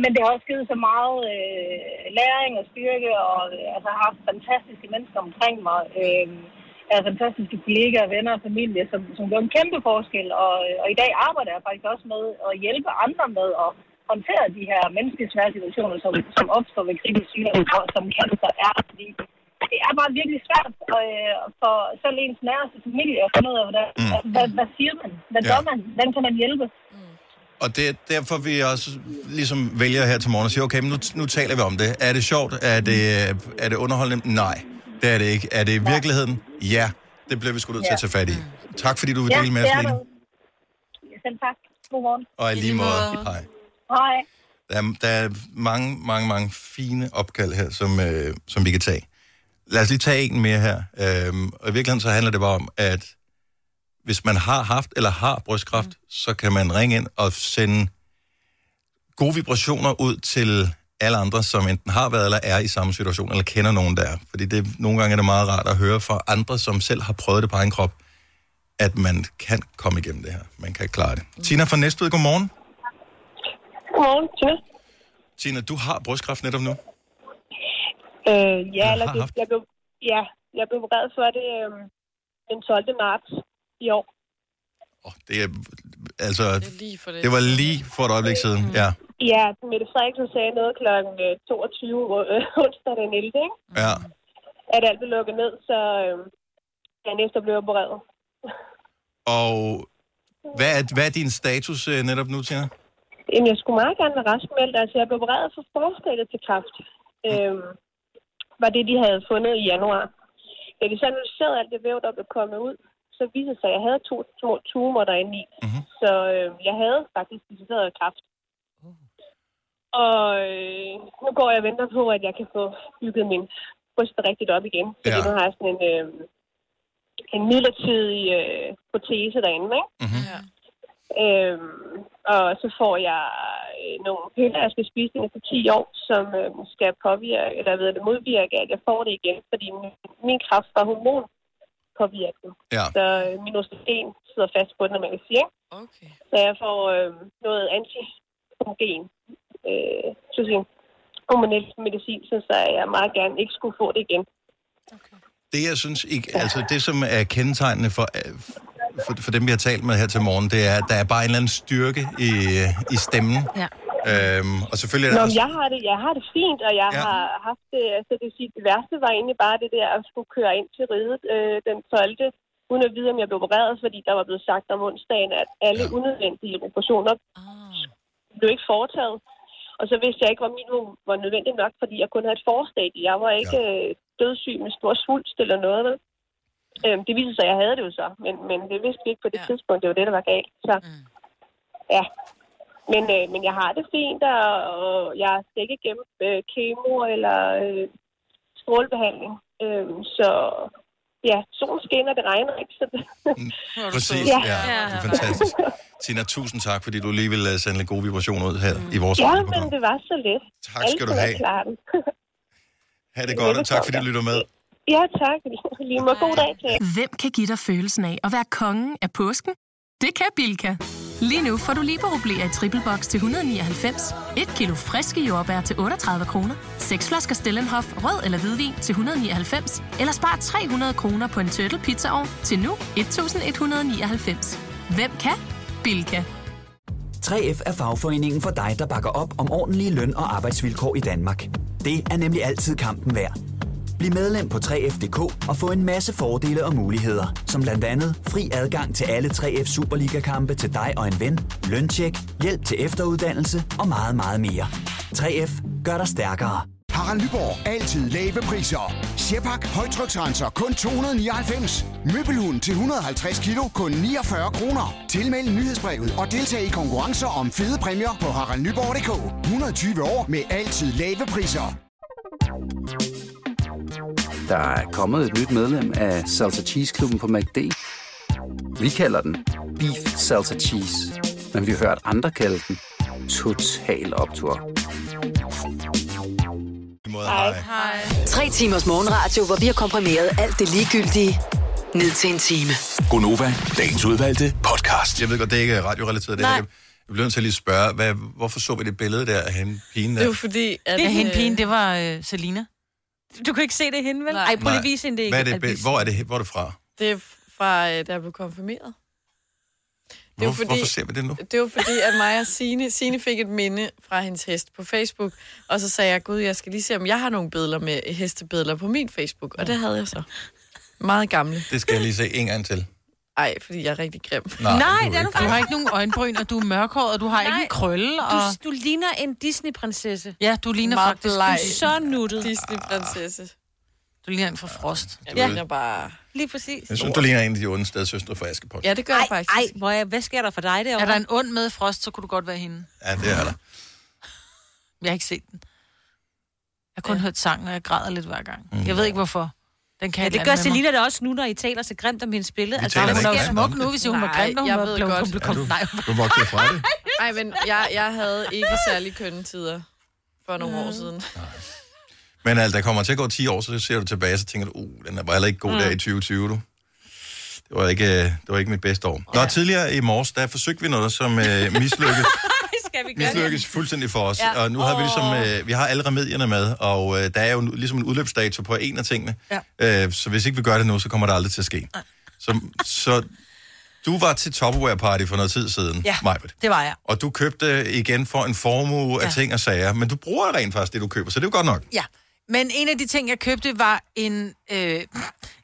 Speaker 17: men det har også givet så meget øh, læring og styrke, og øh, altså, jeg har haft fantastiske mennesker omkring mig. Øh, jeg har fantastiske kollegaer, venner og familie, som, som gør en kæmpe forskel, og, øh, og i dag arbejder jeg faktisk også med at hjælpe andre med at håndtere de her menneskelige svære situationer, som, som opstår ved kritisk sygdom, og som cancer er, fordi det er bare virkelig svært øh, for selv ens nærmeste familie at finde ud af, hvordan, mm. hvad, hvad siger man? Hvad
Speaker 1: Ja.
Speaker 17: ja. gør man? Hvordan kan man hjælpe?
Speaker 1: Og det er derfor, vi også ligesom vælger her til morgen og siger, okay, men nu, nu taler vi om det. Er det sjovt? Er det, er det underholdende? Nej, det er det ikke. Er det i virkeligheden? Ja, det bliver vi sgu nødt til at tage fat i. Tak fordi du vil dele med os,
Speaker 17: Mm. det er
Speaker 1: Lene.
Speaker 17: det. Selv tak. Godmorgen.
Speaker 1: Og i lige måde, hej.
Speaker 17: Hej.
Speaker 1: Der er, der er mange, mange, mange fine opkald her, som, øh, som vi kan tage. Lad os lige tage en mere her. Øhm, og i virkeligheden så handler det bare om, at hvis man har haft eller har brystkræft, mm. så kan man ringe ind og sende gode vibrationer ud til alle andre, som enten har været eller er i samme situation, eller kender nogen, der er. Fordi det, nogle gange er det meget rart at høre fra andre, som selv har prøvet det på egen krop, at man kan komme igennem det her. Man kan klare det. Mm. Tina fra Næstved, godmorgen.
Speaker 18: Godmorgen, Tina.
Speaker 1: Tina, du har brystkræft netop nu.
Speaker 18: Øh, ja,
Speaker 1: har
Speaker 18: eller det,
Speaker 1: haft.
Speaker 18: jeg, blev, ja, jeg blev opereret for det øh, den 12. marts i år.
Speaker 1: Det er, altså, det,
Speaker 18: lige for
Speaker 1: det var lige for et øjeblik siden, ja.
Speaker 18: Ja, Mette Frederiksen sagde noget kl. 22 hvor, øh, <laughs> onsdag den 11. Ikke?
Speaker 1: ja.
Speaker 18: At alt blev lukket ned, så øh, dagen efter blev jeg opereret.
Speaker 1: Og hvad er, hvad er din status øh, netop nu, Tina?
Speaker 18: Jamen, jeg skulle meget gerne være raskmeldt. Altså, jeg blev opereret for forstadiet til kræft. Øh, var det, de havde fundet i januar. Da de så analyserede alt det væv, der blev kommet ud, så viste det sig, at jeg havde to små tumor derinde i.
Speaker 1: Mm-hmm.
Speaker 18: Så øh, jeg havde faktisk decideret kræft. Og øh, nu går jeg og venter på, at jeg kan få bygget min bryst rigtigt op igen. Fordi
Speaker 1: Ja.
Speaker 18: nu har jeg sådan en, øh, en midlertidig øh, protese derinde, ikke?
Speaker 1: Mm-hmm.
Speaker 18: Ja. Øhm, og så får jeg øh, nogle piller, jeg skal spise inden for 10 år, som øh, skal påvirke, eller ved det modvirke, at jeg får det igen, fordi min, min kraft var hormonpåvirket.
Speaker 1: Ja.
Speaker 18: Så øh, min østrogen sidder fast på den, når man kan sige. ikke? Så jeg får øh, noget antihomogen, øh, sådan hormonel medicin, så så jeg meget gerne ikke skulle få det igen.
Speaker 1: Det, jeg synes, ikke, altså det, som er kendetegnende for, øh, for, for dem, vi har talt med her til morgen, det er, at der er bare en eller anden styrke i, øh, i stemmen.
Speaker 18: Ja.
Speaker 1: Øhm, og selvfølgelig er
Speaker 18: Nå,
Speaker 1: der
Speaker 18: men
Speaker 1: også...
Speaker 18: jeg har, det, jeg har det fint, og jeg
Speaker 1: Ja.
Speaker 18: ja. har haft det, altså det vil sige, det værste var egentlig bare det der at skulle køre ind til ridet øh, den 12. uden at vide, om jeg blev opereret, fordi der var blevet sagt om onsdagen, at alle unødvendige operationer Ah. blev ikke foretaget. Og så vidste jeg ikke, hvor minimum var nødvendigt nok, fordi jeg kun havde et forstadie. Jeg var ikke ja. dødssyg med stor svulst eller noget. vel? Øhm, det viste sig, at jeg havde det jo så, men, men det vidste vi ikke på det ja. tidspunkt. Det var det, der var galt. Så, mm. ja. Men, øh, men jeg har det fint, og, og jeg skal ikke igennem øh, kemo eller øh, strålebehandling. Øh, så ja, solen skinner, det regner ikke. Så det,
Speaker 1: Mm,
Speaker 18: <laughs>
Speaker 1: Præcis, ja. ja. Det er fantastisk. Tina, tusind tak, fordi du lige ville øh, sende lidt gode vibrationer ud her i vores
Speaker 18: ja,
Speaker 1: radioprogram.
Speaker 18: men det var så let.
Speaker 1: Tak skal du
Speaker 18: kunne
Speaker 1: have.
Speaker 18: klare den.
Speaker 1: Ha' det godt, og tak fordi du lytter med.
Speaker 18: ja, tak. Lige må god dag til jer.
Speaker 19: Hvem kan give dig følelsen af at være kongen af påsken? Det kan Bilka! Lige nu får du liberobleer i triple box til 199, et kilo friske jordbær til 38 kroner, seks flasker Stellenhof rød eller hvidvin til 199, eller spar 300 kroner på en turtle pizzaovn til nu 1199. Hvem kan? Bilka!
Speaker 20: 3F er fagforeningen for dig, der bakker op om ordentlige løn- og arbejdsvilkår i Danmark. Det er nemlig altid kampen værd. Bliv medlem på 3F.dk og få en masse fordele og muligheder, som blandt andet fri adgang til alle 3F Superliga-kampe til dig og en ven, løntjek, hjælp til efteruddannelse og meget, meget mere. 3F gør dig stærkere.
Speaker 21: Harald Nyborg. Altid lave priser. Sjehpak. Højtryksrenser. Kun 299. Møbelhund til 150 kilo. Kun 49 kroner. Tilmeld nyhedsbrevet og deltag i konkurrencer om fede præmier på haraldnyborg.dk. 120 år med altid lave priser.
Speaker 22: Der er kommet et nyt medlem af Salsa Cheese Klubben på MACD. Vi kalder den Beef Salsa Cheese, men vi har hørt andre kalde den Total Optor.
Speaker 5: Hej. Tre timers morgenradio, hvor vi har komprimeret alt det ligegyldige ned til en time.
Speaker 1: Gonova, dagens udvalgte podcast. Jeg ved godt, det er ikke radiorelateret. Det her. Jeg bliver nødt til at lige spørge, hvad, hvorfor så vi det billede der af hende, pigen der?
Speaker 2: fordi...
Speaker 1: at-
Speaker 2: At, det er hende
Speaker 1: øh,
Speaker 2: pigen, det var øh, Selina.
Speaker 4: Du kan ikke se det henne, vel? Nej. Ej, prøv lige at vise hende det
Speaker 1: Hvad er
Speaker 4: igen,
Speaker 1: det,
Speaker 4: Albis.
Speaker 1: billede? hvor, er det, hvor er det fra?
Speaker 3: Det er fra, øh, da jeg blev konfirmeret. Det er jo
Speaker 1: Hvor, fordi... Hvorfor ser vi det nu?
Speaker 3: Det var fordi, at mig og Signe, Signe fik et minde fra hendes hest på Facebook, og så sagde jeg, gud, jeg skal lige se, om jeg har nogle billeder med hestebilleder på min Facebook, og det havde jeg så. Meget gamle.
Speaker 1: Det skal jeg lige se en gang til.
Speaker 3: Ej, fordi jeg er rigtig
Speaker 1: <laughs>
Speaker 3: grim.
Speaker 1: Nej, Nej, du er det er du ikke
Speaker 2: Du har ikke nogen øjenbryn, og du er mørkhåret, og du har ikke en krølle. Og...
Speaker 4: Du, du ligner en Disney-prinsesse.
Speaker 2: Ja, du ligner
Speaker 4: Meget
Speaker 2: faktisk
Speaker 4: bleg.
Speaker 2: Du er
Speaker 4: så nuttet.
Speaker 3: Disney-prinsesse.
Speaker 2: Du ligner en fra Frost.
Speaker 1: Jeg Ja. ligner
Speaker 3: bare...
Speaker 4: Lige præcis.
Speaker 1: Jeg synes, du ligner en af de onde stedsøstre fra Askepot.
Speaker 3: Ja, det gør
Speaker 4: jeg faktisk. Ej, hvor er, hvad sker der for dig derovre?
Speaker 2: Er der en ond med Frost, så kunne du godt være hende.
Speaker 1: Ja, det er der.
Speaker 2: Jeg har ikke set den. Jeg har kun ja. hørt sangen, og jeg græder lidt hver gang. Mm. Jeg ved ikke, hvorfor. Den kan
Speaker 4: Ja,
Speaker 2: et eller
Speaker 4: det gør
Speaker 2: andet med mig.
Speaker 4: Selina da også nu, når I taler så grimt om hendes billede. Altså,
Speaker 2: Vi taler da
Speaker 4: hun
Speaker 2: ikke
Speaker 4: jo
Speaker 2: grimt om det. Nej,
Speaker 4: når
Speaker 2: jeg
Speaker 4: var
Speaker 2: ved
Speaker 4: blevet-
Speaker 2: godt.
Speaker 4: hun blev
Speaker 2: Er
Speaker 4: kom-
Speaker 2: du-
Speaker 4: Nej,
Speaker 1: Du vokser fra det.
Speaker 3: Nej, men jeg, jeg havde ikke særlig kønne tider for nogle år siden.
Speaker 1: Men altså, der kommer til at gå 10 år, så ser du tilbage, så tænker du, uh, den var heller ikke god
Speaker 3: Mm.
Speaker 1: mm. der i 2020, du. Det var ikke, øh, det var ikke mit bedste år. Nå, tidligere i morges, der forsøgte vi noget, som øh, <laughs> mislykkes,
Speaker 4: skal vi gøre
Speaker 1: mislykkes fuldstændig for os.
Speaker 4: Ja.
Speaker 1: Ja. Og nu har vi ligesom, øh, vi har alle remedierne med, og øh, der er jo nu- ligesom en udløbsdato på en af tingene. Ja. Øh, så hvis ikke vi gør det nu, så kommer det aldrig til at ske. Så, så du var til Tupperware Party for noget tid siden,
Speaker 2: Ja,
Speaker 1: Majbert.
Speaker 2: det var jeg.
Speaker 1: Og du købte igen for en formue af
Speaker 2: Ja.
Speaker 1: ting og sager, men du bruger rent faktisk det, du køber, så det er jo godt nok.
Speaker 2: Ja, men en af de ting, jeg købte, var en, øh,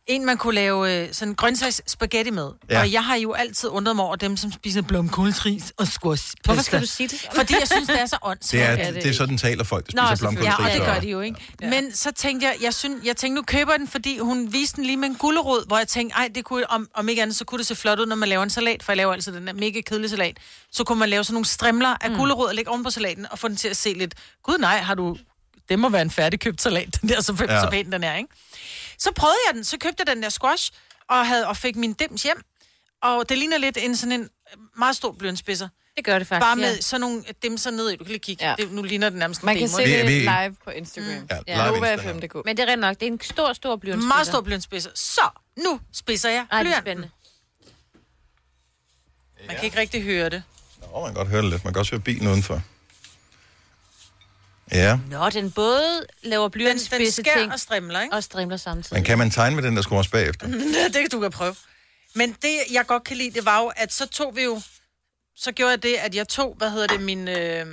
Speaker 2: en man kunne lave øh, sådan grøntsags spaghetti med. Ja.
Speaker 23: Ja.
Speaker 2: Og jeg har jo altid undret mig over dem, som spiser blomkåltris og squash.
Speaker 4: Hvorfor skal du sige det?
Speaker 2: Fordi jeg synes, det er så
Speaker 1: Det
Speaker 2: åndssvagt.
Speaker 1: er, det, det er sådan taler folk, der spiser
Speaker 2: selvfølgelig.
Speaker 1: blomkålsris.
Speaker 2: Ja, og det gør de jo ikke. Ja. Men så tænkte jeg, jeg, synes, jeg tænkte, nu køber jeg den, fordi hun viste den lige med en gullerod, hvor jeg tænkte, ej, det kunne, om, om ikke andet, så kunne det se flot ud, når man laver en salat, for jeg laver altid den der mega kedelige salat. Så kunne man lave sådan nogle strimler af mm. gullerod og lægge oven på salaten, og få den til at se lidt, gud nej, har du, det må være en færdigkøbt salat, <laughs> den der, så,
Speaker 23: Ja.
Speaker 2: ja. så pæn den er, ikke? Så prøvede jeg den, så købte jeg den der squash, og, havde, og fik min dims hjem, og det ligner lidt en sådan en øh, meget stor blyantspidser.
Speaker 4: Det gør det faktisk,
Speaker 2: Bare med
Speaker 4: ja.
Speaker 2: sådan nogle dimser ned i. Du kan lige kigge. Ja. Det, nu ligner det nærmest en
Speaker 3: Man kan
Speaker 2: demo.
Speaker 3: se det Vi- vi- live på Instagram.
Speaker 2: Mm. Ja,
Speaker 3: live Nova Instagram. FM.dk.
Speaker 4: Men det er rent nok, det er en stor, stor blyantspidser.
Speaker 2: Meget stor blyantspidser. Så, nu spidser jeg
Speaker 4: Ej, det
Speaker 2: blyanten.
Speaker 4: er spændende.
Speaker 2: Man kan ikke rigtig høre det.
Speaker 1: Åh, man kan godt høre det lidt. Man kan også høre bilen udenfor. Ja,
Speaker 4: Nå, den både laver blyantspidse
Speaker 2: skærer
Speaker 4: ting.
Speaker 2: og strimler, ikke?
Speaker 4: Og strimler samtidig.
Speaker 1: men kan
Speaker 4: <laughs>
Speaker 1: man tegne med den, der skulle også bagefter?
Speaker 2: det kan du kan prøve. Men det, jeg godt kan lide, det var jo, at så tog vi jo... Så gjorde jeg det, at jeg tog, hvad hedder det, min... Øh,
Speaker 4: Du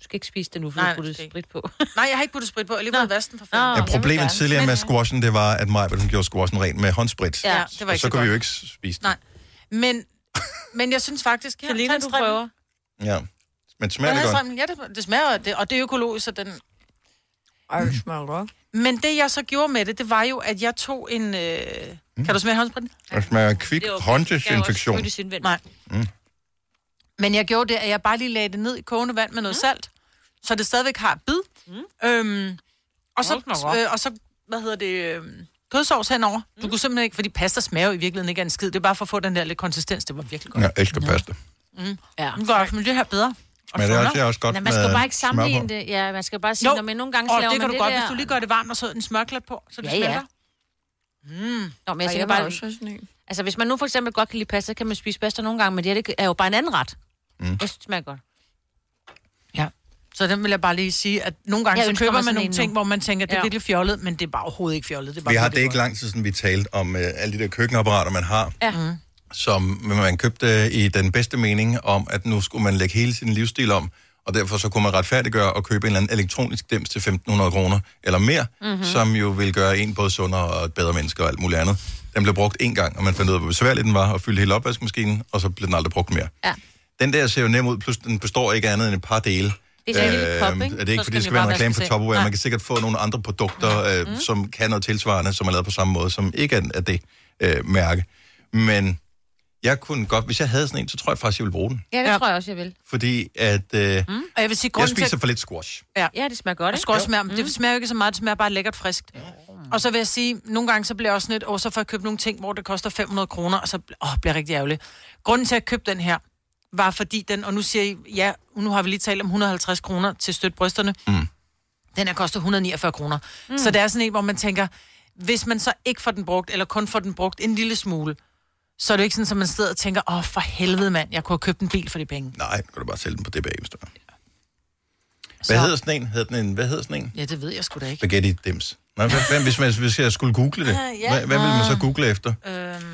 Speaker 4: skal ikke spise det nu, for
Speaker 2: Nej,
Speaker 4: du
Speaker 2: nej,
Speaker 4: har puttet sprit på.
Speaker 2: Nej, jeg har ikke puttet sprit på. Ah, Jeg lige ved vasken for fanden.
Speaker 1: Ja, problemet tidligere med squashen, det var, at Maja, hun gjorde squashen ren med håndsprit.
Speaker 2: Ja, det var
Speaker 1: og
Speaker 2: ikke
Speaker 1: så,
Speaker 2: så
Speaker 1: kunne vi jo
Speaker 2: godt.
Speaker 1: ikke spise
Speaker 2: Nej. Men, men jeg synes faktisk... Her, Kalina, du prøver.
Speaker 1: den. Ja. Men
Speaker 2: Smager
Speaker 1: smager
Speaker 2: det
Speaker 1: det godt?
Speaker 2: Sammen, ja, det, det smager, og det, og det er økologisk, så den...
Speaker 3: Ej, det smager godt.
Speaker 2: Men det, jeg så gjorde med det, det var jo, at jeg tog en... Øh... Mm. Kan du smage håndspritten?
Speaker 1: Det smager kvik hånddesinfektion.
Speaker 2: Nej.
Speaker 1: Mm.
Speaker 2: Men jeg gjorde det, at jeg bare lige lagde det ned i kogende vand med noget mm. salt, så det stadigvæk har bid. Mm. Øhm, og, så,
Speaker 4: Nå, det smager godt.
Speaker 2: øh, og så, hvad hedder det, øh, kødsovs henover. Mm. Du kunne simpelthen ikke, fordi pasta smager jo i virkeligheden ikke af en skid. Det er bare for at få den der lidt konsistens. Det var virkelig godt.
Speaker 1: Jeg elsker pasta.
Speaker 2: Mm. Ja. Nu går jeg men det her bedre.
Speaker 1: Men det er også,
Speaker 2: sundere.
Speaker 1: jeg er også godt
Speaker 4: Nej, man skal
Speaker 1: med
Speaker 4: bare ikke
Speaker 1: smør på.
Speaker 4: sammenligne det. Ja, man skal bare sige,
Speaker 2: Jo.
Speaker 4: når man nogle gange
Speaker 2: Åh,
Speaker 4: laver
Speaker 2: det kan
Speaker 4: man
Speaker 2: du
Speaker 4: det
Speaker 2: godt,
Speaker 4: der...
Speaker 2: hvis du lige gør det varmt, og så en smørklat på, så det
Speaker 4: Ja, ja.
Speaker 2: smelter. Mm.
Speaker 4: Nå, men jeg
Speaker 2: Ej,
Speaker 4: tænker
Speaker 2: var
Speaker 4: bare...
Speaker 2: også
Speaker 4: Altså, hvis man nu for eksempel godt kan lide pasta, kan man spise pasta nogle gange, men det her det er jo bare en anden ret. Mm. Jeg synes, det smager godt.
Speaker 2: Så den vil jeg bare lige sige, at nogle gange
Speaker 4: Jeg
Speaker 2: så
Speaker 4: ønsker
Speaker 2: køber
Speaker 4: mig
Speaker 2: man
Speaker 4: sådan
Speaker 2: nogle
Speaker 4: en
Speaker 2: ting,
Speaker 4: nu.
Speaker 2: hvor man tænker, det er
Speaker 4: Ja.
Speaker 2: virkelig fjollet, men det er bare overhovedet ikke fjollet. Det er bare
Speaker 1: Vi har
Speaker 2: virkelig
Speaker 1: det ikke
Speaker 2: godt.
Speaker 1: lang tid siden, vi talte om øh, alle de der køkkenapparater, man har,
Speaker 2: Ja. Mm.
Speaker 1: som man købte i den bedste mening om, at nu skulle man lægge hele sin livsstil om, og derfor så kunne man retfærdiggøre at købe en eller anden elektronisk dims til 1.500 kroner eller mere,
Speaker 7: Mhm.
Speaker 1: mm-hmm. som jo vil gøre en både sundere og et bedre menneske og alt muligt andet. Den blev brugt én gang, og man fandt ud af, hvor besværlig den var, og fyldte hele opvaskemaskinen, og så blev den aldrig brugt mere.
Speaker 4: Ja.
Speaker 1: Den der ser jo nem ud, plus den består ikke af andet end et par dele. Øhm,
Speaker 4: Det er sådan en lille pop, ikke?
Speaker 1: Er det ikke,
Speaker 4: Så
Speaker 1: fordi det
Speaker 4: skal
Speaker 1: skal
Speaker 4: vi
Speaker 1: være en
Speaker 4: bare
Speaker 1: reklame for
Speaker 4: vaske
Speaker 1: Tupperware?
Speaker 4: ting.
Speaker 1: Man kan sikkert få nogle andre produkter, øh, som kan noget tilsvarende, som er lavet på samme måde, som ikke er af det øh, mærke. Men jeg kunne godt, hvis jeg havde sådan en, så tror jeg faktisk, jeg ville bruge den.
Speaker 4: Ja, det ja. tror jeg også, jeg vil.
Speaker 1: Fordi at øh, mm.
Speaker 2: Og jeg vil sige,
Speaker 1: jeg
Speaker 2: grunden til...
Speaker 1: spiser for lidt squash.
Speaker 2: Ja.
Speaker 4: ja, det smager godt,
Speaker 2: ikke? Skal også smage, mm. Det smager jo ikke så meget, det smager bare lækkert friskt. Og så vil jeg sige, nogle gange så bliver jeg også sådan lidt, åh, så får jeg købt nogle ting, hvor det koster 500 kroner, og så bl- åh, bliver jeg rigtig ærgerlig. Grunden til, at jeg købte den her, var fordi den, og nu siger I, ja, nu har vi lige talt om 150 kroner til støt brysterne.
Speaker 1: Mm.
Speaker 2: Den her koster 149 kroner. Mm. Så det er sådan en, hvor man tænker, hvis man så ikke får den brugt, eller kun får den brugt en lille smule, så er det jo ikke sådan, at man sidder og tænker, åh, for helvede mand, jeg kunne have købt en bil for de penge.
Speaker 1: Nej, nu kan du bare sælge den på det bag, hvis du er. Hvad hedder sådan en? Hedder den en? Hvad hedder sådan en?
Speaker 2: Ja, det ved jeg sgu da ikke.
Speaker 1: Spaghetti dims. Nej, hvad, hvad, hvis, man, hvis jeg skulle google det,
Speaker 2: Ah, ja.
Speaker 1: hvad, hvad ville man så google efter?
Speaker 2: Øhm,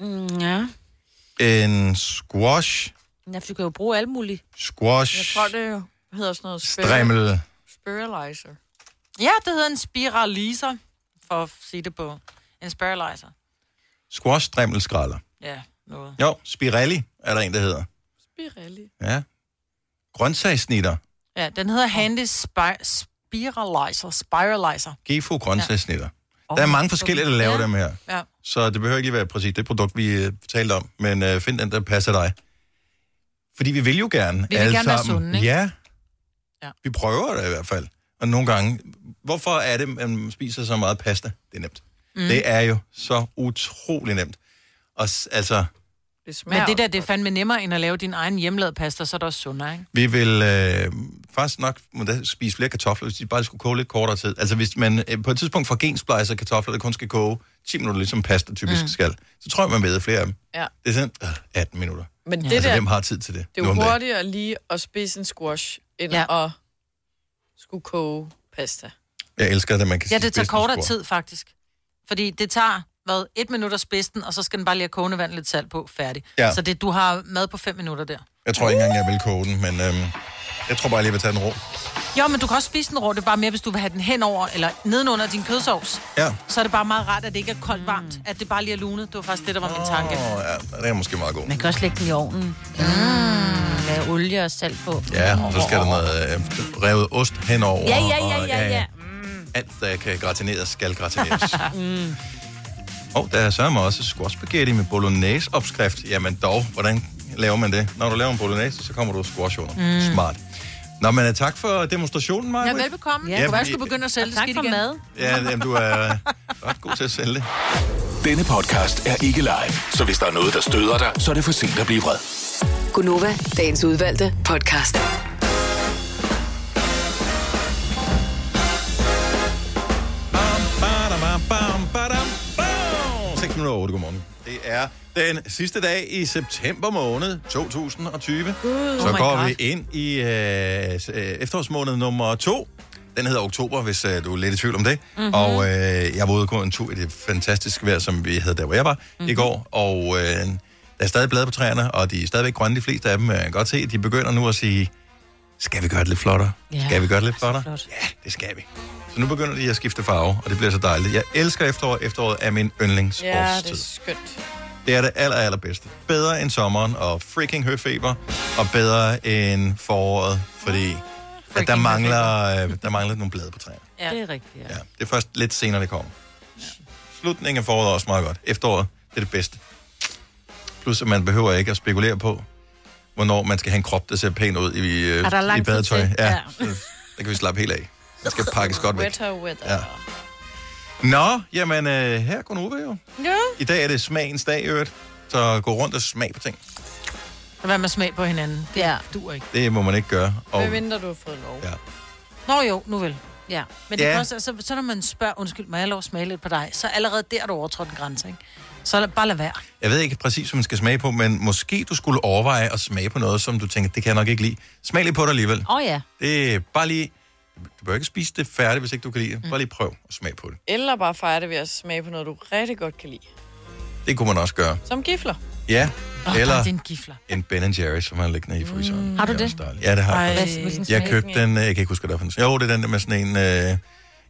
Speaker 4: mm, ja.
Speaker 1: En squash,
Speaker 4: ja, for du kan jo bruge alt muligt.
Speaker 1: squash,
Speaker 3: Jeg tror, det hedder sådan noget...
Speaker 2: Øh.
Speaker 3: spir-
Speaker 1: strimmel.
Speaker 3: Spiralizer.
Speaker 2: Ja, det hedder en spiraliser, for at sige det på. En spiraliser.
Speaker 1: Squash, strimmel, skralder.
Speaker 2: Ja, noget.
Speaker 1: Jo, spirelli er der en, der hedder.
Speaker 3: Spirelli.
Speaker 1: Ja. Grøntsagssnitter.
Speaker 2: Ja, den hedder Handy Spir- Spiralizer. Spiralizer.
Speaker 1: Gefo grøntsagssnitter. Ja. Der er mange forskellige, der laver ja. dem her.
Speaker 2: Ja.
Speaker 1: Så det behøver ikke lige være præcis det produkt, vi øh, talte om. Men øh, find den, der passer dig. Fordi vi vil jo gerne
Speaker 2: vil
Speaker 1: alle
Speaker 2: gerne være
Speaker 1: sammen.
Speaker 2: sunde, ikke?
Speaker 1: Ja.
Speaker 2: ja.
Speaker 1: Vi prøver det i hvert fald. Og nogle gange, hvorfor er det, man spiser så meget pasta? Det er nemt. Mm.
Speaker 2: Mm.
Speaker 1: Det er jo så utrolig nemt. Og s- altså,
Speaker 3: Det
Speaker 2: Men det der, det er fandme nemmere, end at lave din egen hjemlavede pasta, så er det også sundere, ikke?
Speaker 1: Vi vil øh, faktisk nok må da spise flere kartofler, hvis de bare skulle koge lidt kortere tid. Altså hvis man øh, på et tidspunkt får gensplejser kartofler, der kun skal koge 10 minutter, ligesom pasta typisk
Speaker 3: Mm.
Speaker 1: mm. skal, så tror jeg, man ved flere af dem.
Speaker 3: Ja.
Speaker 1: Det er sådan øh, 18 minutter.
Speaker 3: Men det
Speaker 1: altså,
Speaker 3: der-
Speaker 1: hvem har tid til det?
Speaker 3: Det er
Speaker 1: nu
Speaker 3: jo
Speaker 1: om dagen?
Speaker 3: hurtigere lige at spise en squash, end ja. at skulle koge
Speaker 1: <laughs>
Speaker 3: pasta.
Speaker 1: Jeg elsker det, man kan
Speaker 2: Ja,
Speaker 1: spise
Speaker 2: det tager
Speaker 1: bedst med
Speaker 2: kortere
Speaker 1: skruer.
Speaker 2: tid, faktisk. Fordi det tager, hvad, et minut at spidse den, og så skal den bare lige have kogende vand lidt salt på, færdig.
Speaker 1: Ja.
Speaker 2: Så det, du har mad på fem minutter der.
Speaker 1: Jeg tror ikke engang, jeg vil koge den, men øhm, jeg tror bare, jeg vil tage den rå.
Speaker 2: Jo, men du kan også spise den rå, det er bare mere, hvis du vil have den henover, eller nedenunder din kødsovs.
Speaker 1: Ja.
Speaker 2: Så er det bare meget rart, at det ikke er koldt varmt, at det bare lige er lunet. Det var faktisk det, der var min tanke.
Speaker 1: Åh, ja, det er måske meget god.
Speaker 4: Man kan også lægge den i ovnen. Mm. Med olie og salt på.
Speaker 1: Ja, og så skal der noget øh, revet ost henover.
Speaker 4: Ja, ja, ja,
Speaker 1: og,
Speaker 4: ja, ja.
Speaker 1: Alt, der kan gratineres, skal gratineres.
Speaker 4: mm.
Speaker 1: Og der er sørme også squash spaghetti med bolognese opskrift. Jamen dog, hvordan laver man det? Når du laver en bolognese, så kommer du squash under.
Speaker 2: Mm.
Speaker 1: Mm. Smart. Nå, men øh, tak for demonstrationen, Maja.
Speaker 2: Ja, velbekomme.
Speaker 1: Ja,
Speaker 2: Ja, du
Speaker 1: fordi-
Speaker 2: bare skulle begynde at sælge det
Speaker 4: tak
Speaker 2: skidt
Speaker 4: for
Speaker 2: igen.
Speaker 4: mad.
Speaker 1: Ja, jamen, du er øh, ret god til at sælge det.
Speaker 6: Denne podcast er ikke live, så hvis der er noget, der støder dig, så er det for sent at blive vred.
Speaker 5: Gunova, dagens udvalgte podcast.
Speaker 1: Badam, bam, badam, bam. 6 minutter over otte, godmorgen. Det er den sidste dag i september måned 2020. så
Speaker 7: Oh my
Speaker 1: går
Speaker 7: God.
Speaker 1: vi ind i øh, s- øh, efterårsmåned nummer to. Den hedder oktober, hvis øh, du er lidt i tvivl om det.
Speaker 7: Mhm.
Speaker 1: Mm-hmm. Og øh, jeg var ude og gå en tur i det fantastiske vejr, som vi havde der, hvor jeg var
Speaker 7: Mhm.
Speaker 1: mm-hmm. i går. Og øh, der er stadig blade på træerne, og de er stadigvæk grønne, de fleste af dem. Jeg kan godt se, at de begynder nu at sige, Skal vi gøre det lidt flottere?
Speaker 2: Ja,
Speaker 1: skal vi gøre det lidt flottere? Ja, det skal vi. Så nu begynder de at skifte farve, og det bliver så dejligt. Jeg elsker efterår. Efteråret er min
Speaker 3: Ja, det
Speaker 1: yndlingsårstid.
Speaker 3: er skønt.
Speaker 1: Det er det aller, allerbedste. Bedre end sommeren og freaking høfeber, og bedre end foråret, fordi at der, mangler, øh, der mangler nogle blade på træerne.
Speaker 2: Ja. Det er rigtigt, ja. ja.
Speaker 1: Det er først lidt senere, det kommer. Slutningen af foråret er også meget godt. Efteråret, det er det bedste. Plus, at man behøver ikke at spekulere på, hvornår man skal have en krop, der ser pæn ud i, øh,
Speaker 3: Er der
Speaker 1: i
Speaker 3: lang tid
Speaker 1: badetøj.
Speaker 3: til?
Speaker 1: Ja,
Speaker 3: Ja.
Speaker 1: ja. Så, der kan vi slappe helt af.
Speaker 3: <laughs>
Speaker 1: Det skal pakkes godt væk.
Speaker 3: Wetter, wetter.
Speaker 1: Ja. Nå, jamen, øh, her går Nova jo.
Speaker 2: Ja.
Speaker 1: I dag er det smagens dag, i øvrigt. Så gå rundt og smag på ting.
Speaker 2: Lad være med at smage på hinanden. Det ja. duer ikke.
Speaker 1: Det må man ikke gøre. Og
Speaker 2: Hvad
Speaker 3: Mindre du har fået lov.
Speaker 1: Ja.
Speaker 2: Nå jo, nu vel. Ja. Men det
Speaker 1: Ja.
Speaker 2: ja. også, altså, så når man spørger, undskyld, må jeg have lov at smage lidt på dig? Så allerede der er du overtrådt en grænse, ikke? Så lad- bare lad være.
Speaker 1: jeg ved ikke præcis, hvad man skal smage på, men måske du skulle overveje at smage på noget, som du tænker, det kan jeg nok ikke lide. Smag lige på det alligevel.
Speaker 2: Åh oh, ja.
Speaker 1: Det er bare lige... Du bør ikke spise det færdigt, hvis ikke du kan lide det.
Speaker 2: Mm.
Speaker 1: Bare lige prøv at smage på det.
Speaker 3: Eller bare fejre det ved at smage på noget, du rigtig godt kan lide.
Speaker 1: Det kunne man også gøre.
Speaker 3: Som gifler.
Speaker 1: Ja,
Speaker 3: Åh,
Speaker 1: eller
Speaker 3: nej, det er en gifler.
Speaker 1: en Ben Jerry's, som har liggende i
Speaker 2: Mm.
Speaker 1: fryseren.
Speaker 3: Har du det?
Speaker 1: Ja, det har
Speaker 3: Ej,
Speaker 1: jeg.
Speaker 3: hvilken
Speaker 1: faktisk.
Speaker 3: smag
Speaker 1: Jeg købte den, øh, jeg kan ikke huske, hvad det var for en. Jo, det er den der med sådan en, øh,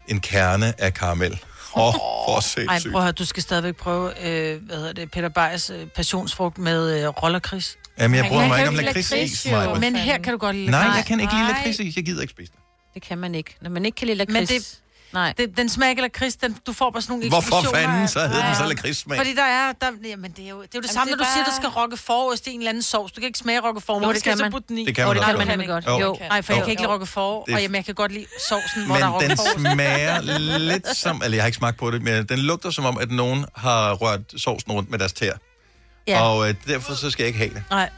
Speaker 1: en kerne af karamel. Åh, oh, for
Speaker 2: Ej,
Speaker 1: sindssygt.
Speaker 2: prøv at høre, du skal stadigvæk prøve, øh, hvad hedder det, Peter Bejers øh, passionsfrugt med øh, rollerkris.
Speaker 1: Jamen, jeg bryder
Speaker 2: Han
Speaker 1: mig
Speaker 2: kan
Speaker 1: ikke om
Speaker 2: jo
Speaker 1: lakrids i is,
Speaker 2: jo.
Speaker 1: Maja.
Speaker 2: Men her kan du godt lide
Speaker 1: Nej,
Speaker 2: lakrids.
Speaker 1: jeg kan ikke lide
Speaker 2: Nej.
Speaker 1: lakrids i is. Jeg gider ikke spise det.
Speaker 4: Det kan man ikke. Når man ikke kan lide lakrids.
Speaker 2: Men det,
Speaker 4: Nej.
Speaker 2: Det, den smager ikke lakrids, den, du får bare sådan nogle
Speaker 1: Hvorfor
Speaker 2: eksplosioner
Speaker 1: fanden
Speaker 2: af-
Speaker 1: så hedder den så
Speaker 2: Ja.
Speaker 1: lakridssmag?
Speaker 2: Fordi der er, der, jamen det er jo det, er jo det samme,
Speaker 4: det
Speaker 2: når
Speaker 4: er
Speaker 2: du siger,
Speaker 4: bare-
Speaker 2: du skal rokke forost i en eller anden sovs. Du kan ikke smage rokke
Speaker 4: Jo,
Speaker 2: forost,
Speaker 4: det
Speaker 2: du skal
Speaker 4: kan
Speaker 2: så
Speaker 4: man.
Speaker 2: putte den i.
Speaker 1: Det kan man
Speaker 2: det
Speaker 1: også
Speaker 2: kan
Speaker 1: godt.
Speaker 2: man nemlig godt.
Speaker 1: Jo.
Speaker 2: Jo. Nej, for
Speaker 1: Jo.
Speaker 2: jeg kan ikke lide rokke forår,
Speaker 1: Det er-
Speaker 2: og jamen, jeg kan godt lide sovsen, hvor der er
Speaker 1: Men
Speaker 2: rokke
Speaker 1: den
Speaker 2: forår. <laughs>
Speaker 1: smager lidt som... Eller jeg har ikke smagt på det, men den lugter som om, at nogen har rørt sovsen rundt med deres tæer. Ja.
Speaker 2: Ja.
Speaker 1: Og øh, derfor så skal jeg ikke have det.
Speaker 2: Nej.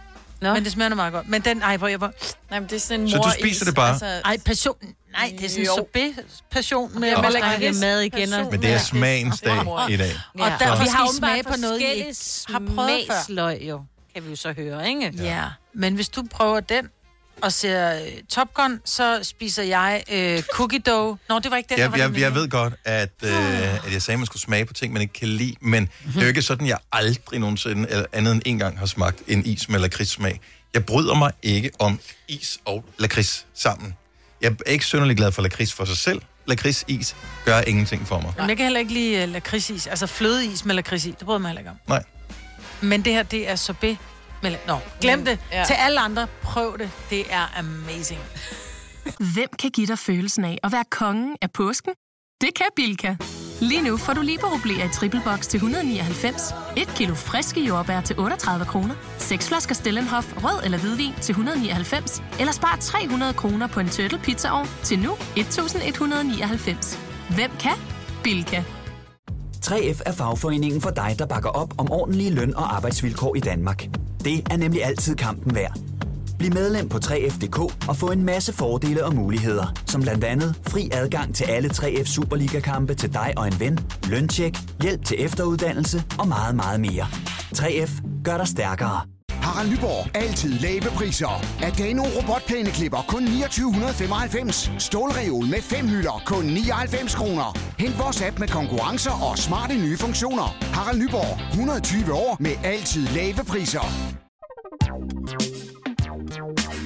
Speaker 2: Nå. Men det smager nu meget godt. Men den, ej, hvor jeg var...
Speaker 3: Nej, men det er sådan en
Speaker 1: Så du
Speaker 3: mor
Speaker 1: spiser det bare? Altså-
Speaker 2: Ej, passion. Nej, det er sådan en
Speaker 3: Jo.
Speaker 2: sorbet-passion med,
Speaker 4: Og
Speaker 2: hvor
Speaker 4: det er
Speaker 2: der er
Speaker 4: lakrids-
Speaker 2: mad igen. Og...
Speaker 1: Men det er smagens dag i dag.
Speaker 2: Ja. Og derfor
Speaker 1: Så-
Speaker 2: skal I
Speaker 4: åbenbart
Speaker 2: smage på noget, I ikke har prøvet før.
Speaker 4: smagsløg, jo, kan vi jo så høre, ikke?
Speaker 2: Ja. ja. Men hvis du prøver den og ser øh, Top Gun, så spiser jeg øh, cookie dough. Nå, det var ikke den, der
Speaker 1: Jeg,
Speaker 2: var
Speaker 1: jeg,
Speaker 2: den
Speaker 1: jeg
Speaker 2: ene.
Speaker 1: ved godt, at, øh, at jeg sagde, at man skulle smage på ting, man ikke kan lide, men det er jo ikke sådan, at jeg aldrig nogensinde, eller andet end en gang, har smagt en is med lakridssmag. Jeg bryder mig ikke om is og lakrids sammen. Jeg er ikke synderlig glad for lakrids for sig selv. Lakridsis gør ingenting for mig.
Speaker 2: Jamen, jeg kan heller ikke lide uh, lakridsis. Altså flødeis med lakridsis. Det bryder jeg mig heller ikke om.
Speaker 1: Nej.
Speaker 2: Men det her, det er sorbet. Med la- Nå, glem det.
Speaker 19: Ja.
Speaker 2: Ja. Til alle andre, prøv det. Det er amazing.
Speaker 19: Hvem kan give dig følelsen af at være kongen af påsken? Det kan Bilka! Lige nu får du liberobleer i triple box til 199, et kilo friske jordbær til 38 kroner, seks flasker Stellenhof rød eller hvidvin til 199, eller spar 300 kroner på en turtle pizzaovn til nu 1199. Hvem kan? Bilka.
Speaker 20: 3F er fagforeningen for dig, der bakker op om ordentlige løn- og arbejdsvilkår i Danmark. Det er nemlig altid kampen værd. Bliv medlem på 3F.dk og få en masse fordele og muligheder, som blandt andet fri adgang til alle 3F Superliga-kampe til dig og en ven, løntjek, hjælp til efteruddannelse og meget, meget mere. 3F gør dig stærkere.
Speaker 21: Harald Nyborg. Altid lave priser. Adano robotplæneklipper kun 2995. Stålreol med fem hylder kun 99 kroner. Hent vores app med konkurrencer og smarte nye funktioner. Harald Nyborg. 120 år med altid lave priser.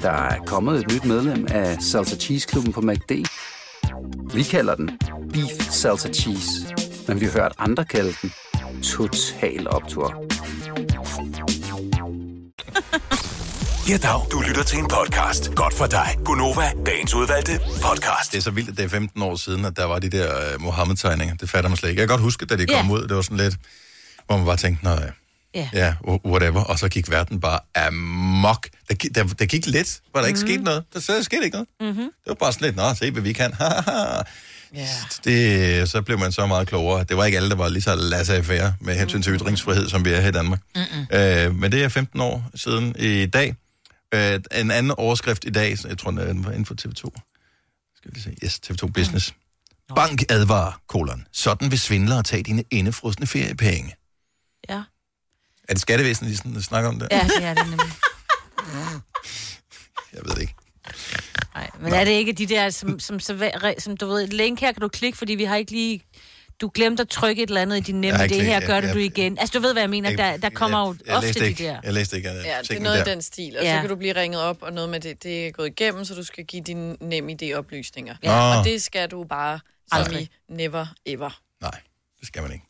Speaker 22: Der er kommet et nyt medlem af Salsa Cheese Klubben på MACD. Vi kalder den Beef Salsa Cheese, men vi har hørt andre kalde den Total Optor.
Speaker 6: Ja, dag. Du lytter til en podcast. Godt for dig. Gunova, dagens udvalgte podcast.
Speaker 1: Det er så vildt, at det er 15 år siden, at der var de der øh, Mohammed-tegninger. Det fatter man slet ikke. Jeg kan godt huske, da det kom
Speaker 4: Ja.
Speaker 1: ud, det var sådan lidt, hvor man bare tænkte, nej,
Speaker 4: Ja.
Speaker 1: ja, wh- whatever. Og så gik verden bare amok. Der, gi- der, der gik lidt, var der ikke mm.
Speaker 4: Mhm.
Speaker 1: sket noget. Der, så der skete ikke noget.
Speaker 4: Mm-hmm.
Speaker 1: Det var bare sådan lidt, nå, se hvad vi kan. <laughs> det, så blev man så meget klogere. Det var ikke alle, der var lige så lasse affære med hensyn til ytringsfrihed, som vi er her i Danmark. Øh, men det er 15 år siden i dag. Øh, en anden overskrift i dag, så jeg tror, den var inden for TV2. Skal vi lige se. Yes, TV2 Business. Bank advarer, kolon. Sådan vil svindlere tage dine indefrosne feriepenge.
Speaker 4: Ja.
Speaker 1: Er det skattevæsenet, de sådan, snakker om det?
Speaker 4: Ja, det er det nemlig.
Speaker 1: <laughs> Jeg ved det ikke.
Speaker 4: Men er det ikke de der, som, som, som, som du ved, link her kan du klikke, fordi vi har ikke lige... du glemte at trykke et eller andet i din nemme
Speaker 1: Jeg har ikke
Speaker 4: det her,
Speaker 1: læst-
Speaker 4: gør
Speaker 1: jeg-
Speaker 4: det du
Speaker 1: jeg-
Speaker 4: igen. Altså, du ved, hvad jeg mener,
Speaker 1: jeg-
Speaker 4: der, der kommer jo
Speaker 1: jeg
Speaker 4: ofte
Speaker 1: læste
Speaker 4: de
Speaker 1: ikke,
Speaker 4: der.
Speaker 1: Jeg læste ikke.
Speaker 3: Ja, det er
Speaker 1: tingene
Speaker 3: noget
Speaker 1: der.
Speaker 3: af den stil. Og
Speaker 4: Ja.
Speaker 3: så kan du blive ringet op, og noget med det, det er gået igennem, så du skal give dine nemme idéoplysninger.
Speaker 1: Ja. Nå.
Speaker 3: Og det skal du bare aldrig, never, ever
Speaker 1: Nej, det skal man ikke.